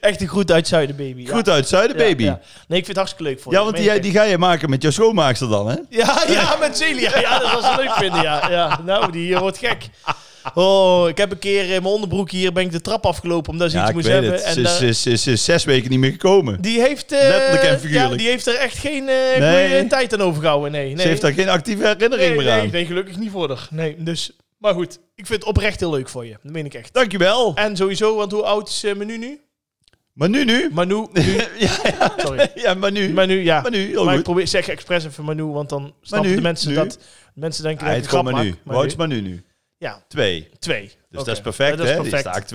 Speaker 1: Echt een goed uit Zuiden, baby. ja.
Speaker 2: Goed uit, Zuidenbaby.
Speaker 1: Ja,
Speaker 2: Ja,
Speaker 1: ja. Nee, ik vind het hartstikke leuk voor je.
Speaker 2: want
Speaker 1: meen
Speaker 2: die,
Speaker 1: ik
Speaker 2: die ga je maken met jouw schoonmaakster dan, hè?
Speaker 1: Ja, ja, met Celia. Ja, dat was leuk vinden. Ja, ja. Nou, die eh, wordt gek. Oh, ik heb een keer in mijn onderbroek hier ben ik de trap afgelopen omdat ze
Speaker 2: Ja,
Speaker 1: iets
Speaker 2: ik
Speaker 1: moest
Speaker 2: weet
Speaker 1: hebben. eh,
Speaker 2: het. Ze
Speaker 1: daar-
Speaker 2: is, ze is- ze is- ze is zes weken niet meer gekomen.
Speaker 1: die heeft, eh,
Speaker 2: Letterlijk en figuurlijk.
Speaker 1: Ja, die heeft er echt geen eh
Speaker 2: Nee.
Speaker 1: goede tijd aan overgehouden. Nee, nee.
Speaker 2: Ze heeft daar geen actieve herinnering
Speaker 1: nee,
Speaker 2: meer aan.
Speaker 1: nee, nee, gelukkig niet voor haar. Nee, dus, maar goed, ik vind het oprecht heel leuk voor je. Dat meen ik echt.
Speaker 2: Dankjewel.
Speaker 1: En sowieso, want hoe oud is eh, Menu nu?
Speaker 2: Maar nu, nu.
Speaker 1: Manu, nu,
Speaker 2: ja, ja,
Speaker 1: sorry.
Speaker 2: ja, maar nu. Maar,
Speaker 1: Manu, ja.
Speaker 2: nu, heel
Speaker 1: maar ik
Speaker 2: goed.
Speaker 1: probeer, zeg expres even Manu, want dan snappen
Speaker 2: nu,
Speaker 1: de mensen
Speaker 2: nu.
Speaker 1: dat. Mensen denken
Speaker 2: Hij
Speaker 1: dat
Speaker 2: het
Speaker 1: ik een
Speaker 2: gewoon
Speaker 1: grap
Speaker 2: maar nu.
Speaker 1: maak. maar
Speaker 2: Wout
Speaker 1: nu-
Speaker 2: maar nu, nu.
Speaker 1: Ja,
Speaker 2: Twee. Dus
Speaker 1: twee. Oké.
Speaker 2: dat is perfect,
Speaker 1: Ja, dat is
Speaker 2: hè? Die
Speaker 1: perfect.
Speaker 2: staat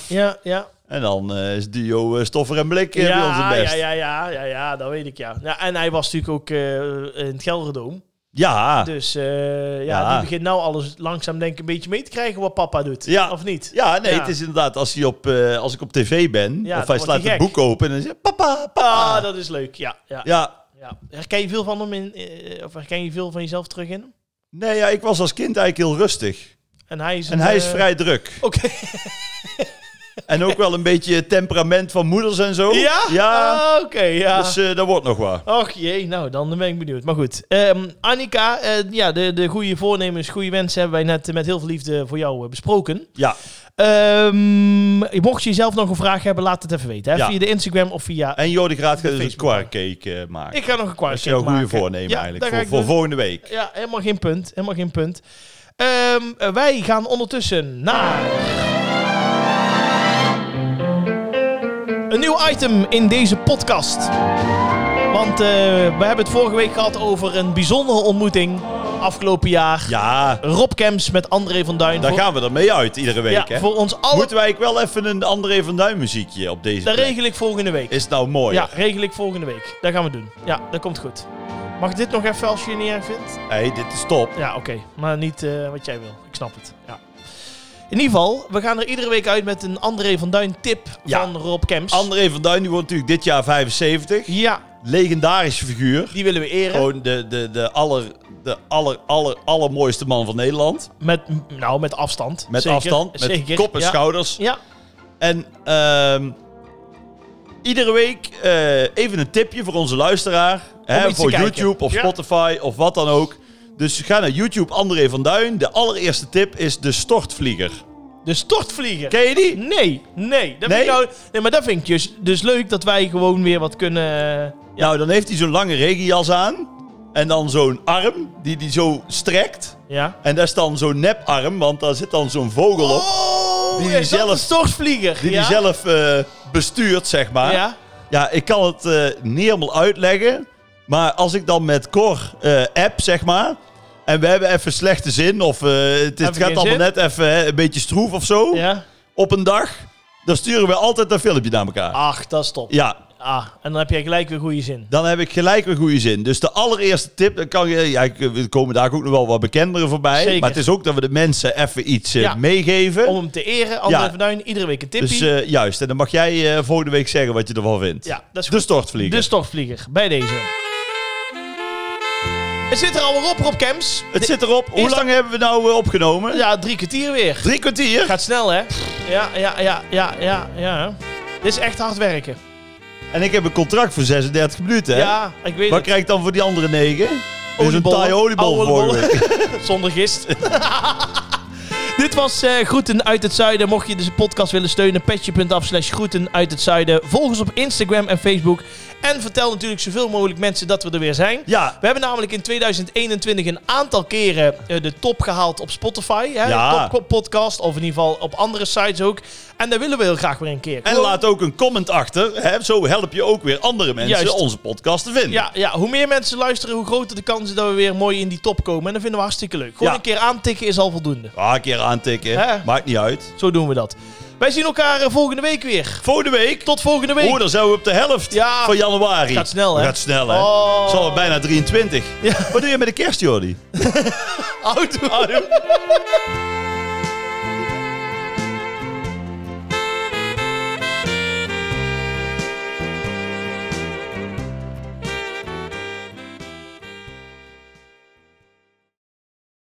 Speaker 2: 2,5.
Speaker 1: Ja, ja.
Speaker 2: En dan eh, is duo eh, Stoffer en Blik eh, bij ons
Speaker 1: Ja,
Speaker 2: het best.
Speaker 1: ja,
Speaker 2: Ja,
Speaker 1: ja, ja, ja, ja, dat weet ik, ja. ja en hij was natuurlijk ook eh, in het Gelderdoom.
Speaker 2: ja.
Speaker 1: Dus eh, ja,
Speaker 2: Ja.
Speaker 1: die begint nou alles langzaam denk ik een beetje mee te krijgen wat papa doet.
Speaker 2: Ja.
Speaker 1: Of niet?
Speaker 2: nee,
Speaker 1: Ja.
Speaker 2: het is inderdaad als, hij op, eh, als ik op tv ben,
Speaker 1: Ja,
Speaker 2: of
Speaker 1: dan
Speaker 2: hij
Speaker 1: wordt
Speaker 2: slaat
Speaker 1: hij
Speaker 2: het
Speaker 1: gek.
Speaker 2: boek open en dan zegt papa, papa.
Speaker 1: Ah, dat is leuk. Ja, ja, ja.
Speaker 2: Ja,
Speaker 1: Herken je veel van hem in, eh, of herken je veel van jezelf terug in hem?
Speaker 2: nee, ja, ik was als kind eigenlijk heel rustig.
Speaker 1: En hij is,
Speaker 2: En
Speaker 1: een,
Speaker 2: hij is
Speaker 1: eh,
Speaker 2: vrij druk.
Speaker 1: Oké.
Speaker 2: En ook wel een beetje temperament van moeders en zo.
Speaker 1: Ja?
Speaker 2: Ja,
Speaker 1: Ah, Oké, ja.
Speaker 2: dus eh dat wordt nog wat.
Speaker 1: Och jee, nou dan ben ik benieuwd. Maar goed, Ehm, Annika, eh, ja, de, de goede voornemens, goede wensen hebben wij net eh, met heel veel liefde voor jou eh, besproken.
Speaker 2: Ja,
Speaker 1: Ehm, mocht je zelf nog een vraag hebben, laat het even weten. Hè?
Speaker 2: Ja.
Speaker 1: Via de Instagram of via...
Speaker 2: en Jordi Graat gaat dus een
Speaker 1: Facebook.
Speaker 2: kwarkcake eh, maken.
Speaker 1: Ik ga nog een
Speaker 2: dat is
Speaker 1: kwartje
Speaker 2: jouw
Speaker 1: maken.
Speaker 2: goede voornemen
Speaker 1: Ja, dat
Speaker 2: eigenlijk
Speaker 1: ga
Speaker 2: voor,
Speaker 1: ik
Speaker 2: voor
Speaker 1: doen.
Speaker 2: volgende week.
Speaker 1: Ja, helemaal geen punt. Helemaal geen punt. Ehm, eh, wij gaan ondertussen naar... Een nieuw item in deze podcast. Want eh, we hebben het vorige week gehad over een bijzondere ontmoeting afgelopen jaar.
Speaker 2: Ja,
Speaker 1: Rob Kemps met André van Duin.
Speaker 2: daar
Speaker 1: Voor-
Speaker 2: gaan we er mee uit iedere week.
Speaker 1: ja,
Speaker 2: hè?
Speaker 1: voor ons allen.
Speaker 2: Moeten wij eigenlijk wel even een André van Duin muziekje op deze
Speaker 1: Dat
Speaker 2: plek?
Speaker 1: regel ik volgende week.
Speaker 2: Is het nou mooi?
Speaker 1: Ja, regel ik volgende week. Dat gaan we doen. Ja, dat komt goed. Mag dit nog even als je het niet erg vindt?
Speaker 2: hey, dit is top.
Speaker 1: Ja, oké. Maar niet eh, wat jij wil. Ik snap het. Ja. In ieder geval, we gaan er iedere week uit met een André van Duin tip
Speaker 2: Ja.
Speaker 1: van Rob Kemps.
Speaker 2: André van Duin, die wordt natuurlijk dit jaar 75.
Speaker 1: ja,
Speaker 2: Legendarische figuur.
Speaker 1: die willen we eren.
Speaker 2: Gewoon de, de, de, aller, de aller, aller, allermooiste man van Nederland.
Speaker 1: Met, m- nou, met afstand.
Speaker 2: Met
Speaker 1: Zeker.
Speaker 2: afstand, met
Speaker 1: Zeker.
Speaker 2: kop en
Speaker 1: ja.
Speaker 2: schouders.
Speaker 1: Ja,
Speaker 2: En ehm, iedere week eh, even een tipje voor onze luisteraar. Hè,
Speaker 1: iets te
Speaker 2: voor
Speaker 1: kijken.
Speaker 2: YouTube of
Speaker 1: Ja.
Speaker 2: Spotify of wat dan ook. Dus ga naar YouTube André van Duin. De allereerste tip is de stortvlieger.
Speaker 1: de stortvlieger.
Speaker 2: Ken je die?
Speaker 1: Dus Nee, nee. Dat
Speaker 2: Nee?
Speaker 1: Vind ik nou, nee, maar dat vind ik dus, dus leuk dat wij gewoon weer wat kunnen... eh,
Speaker 2: Nou, dan heeft hij zo'n lange regenjas aan. En dan zo'n arm die hij zo strekt.
Speaker 1: Ja.
Speaker 2: En dat is dan zo'n neparm, want daar zit dan zo'n vogel op.
Speaker 1: Oh,
Speaker 2: Die
Speaker 1: die
Speaker 2: die
Speaker 1: is dat
Speaker 2: zelf-
Speaker 1: een stortvlieger?
Speaker 2: Die
Speaker 1: ja?
Speaker 2: hij zelf eh, bestuurt, zeg maar.
Speaker 1: Ja.
Speaker 2: Ja, ik kan het eh, niet helemaal uitleggen. Maar als ik dan met Cor eh, app, zeg maar. En we hebben even slechte zin. Of eh, het, het
Speaker 1: Even
Speaker 2: gaat
Speaker 1: geen
Speaker 2: allemaal
Speaker 1: zin.
Speaker 2: net even hè, een beetje stroef of zo.
Speaker 1: ja.
Speaker 2: Op een dag. Dan sturen we altijd een filmpje naar elkaar.
Speaker 1: Ach, dat is top.
Speaker 2: Ja,
Speaker 1: Ah, en dan heb jij gelijk weer goede zin.
Speaker 2: dan heb ik gelijk weer goede zin. Dus de allereerste tip, dan kan je, ja, ik- er komen daar ook nog wel wat bekenderen voorbij.
Speaker 1: Zeker.
Speaker 2: Maar het is ook dat we de mensen even iets eh,
Speaker 1: Ja.
Speaker 2: meegeven.
Speaker 1: Om hem te eren, André
Speaker 2: Ja.
Speaker 1: van Duin, iedere week een tipje.
Speaker 2: dus eh, juist, en dan mag jij eh, volgende week zeggen wat je ervan vindt.
Speaker 1: ja, Dus- dat is
Speaker 2: De
Speaker 1: goed.
Speaker 2: stortvlieger.
Speaker 1: De stortvlieger, bij deze. Het zit er alweer op, Rob Kems.
Speaker 2: het zit erop. Hoe
Speaker 1: Eerst-
Speaker 2: lang hebben we nou eh, opgenomen?
Speaker 1: Ja, drie kwartier weer.
Speaker 2: Drie kwartier.
Speaker 1: Gaat snel, hè? Ja, ja, ja, ja, ja, ja. Dit is echt hard werken.
Speaker 2: En ik heb een contract voor 36 minuten. hè?
Speaker 1: Ja, ik weet
Speaker 2: Wat
Speaker 1: het.
Speaker 2: krijg ik dan voor die andere negen? Dus een
Speaker 1: Oliebollen.
Speaker 2: taai oliebol
Speaker 1: Oude
Speaker 2: voor
Speaker 1: bollen. Zonder gist. Dit was eh, Groeten uit het Zuiden. Mocht je deze podcast willen steunen, petje.af slash groeten uit het Zuiden. Volg ons op Instagram en Facebook. En vertel natuurlijk zoveel mogelijk mensen dat we er weer zijn.
Speaker 2: Ja,
Speaker 1: We hebben namelijk in 2021 een aantal keren eh, de top gehaald op Spotify. Hè?
Speaker 2: Ja.
Speaker 1: De top podcast, of in ieder geval op andere sites ook. En daar willen we heel graag weer een keer.
Speaker 2: en laat ook een comment achter. Hè? Zo help je ook weer andere mensen
Speaker 1: Juist.
Speaker 2: onze podcast te vinden.
Speaker 1: Ja, ja, hoe meer mensen luisteren, hoe groter de kans is dat we weer mooi in die top komen. En dat vinden we hartstikke leuk. Gewoon
Speaker 2: Ja.
Speaker 1: een keer aantikken is al voldoende.
Speaker 2: Ah, een keer aantikken.
Speaker 1: Hè?
Speaker 2: Maakt niet uit.
Speaker 1: Zo doen we dat. Wij zien elkaar eh, volgende week weer.
Speaker 2: Volgende week.
Speaker 1: Tot volgende week.
Speaker 2: Oh, dan zijn we op de helft
Speaker 1: Ja.
Speaker 2: van januari.
Speaker 1: Gaat snel, hè?
Speaker 2: Gaat snel, hè?
Speaker 1: Oh.
Speaker 2: Zal het bijna 23.
Speaker 1: Ja.
Speaker 2: Ah, Wat doe je met de kerst, Jordi?
Speaker 1: Auto.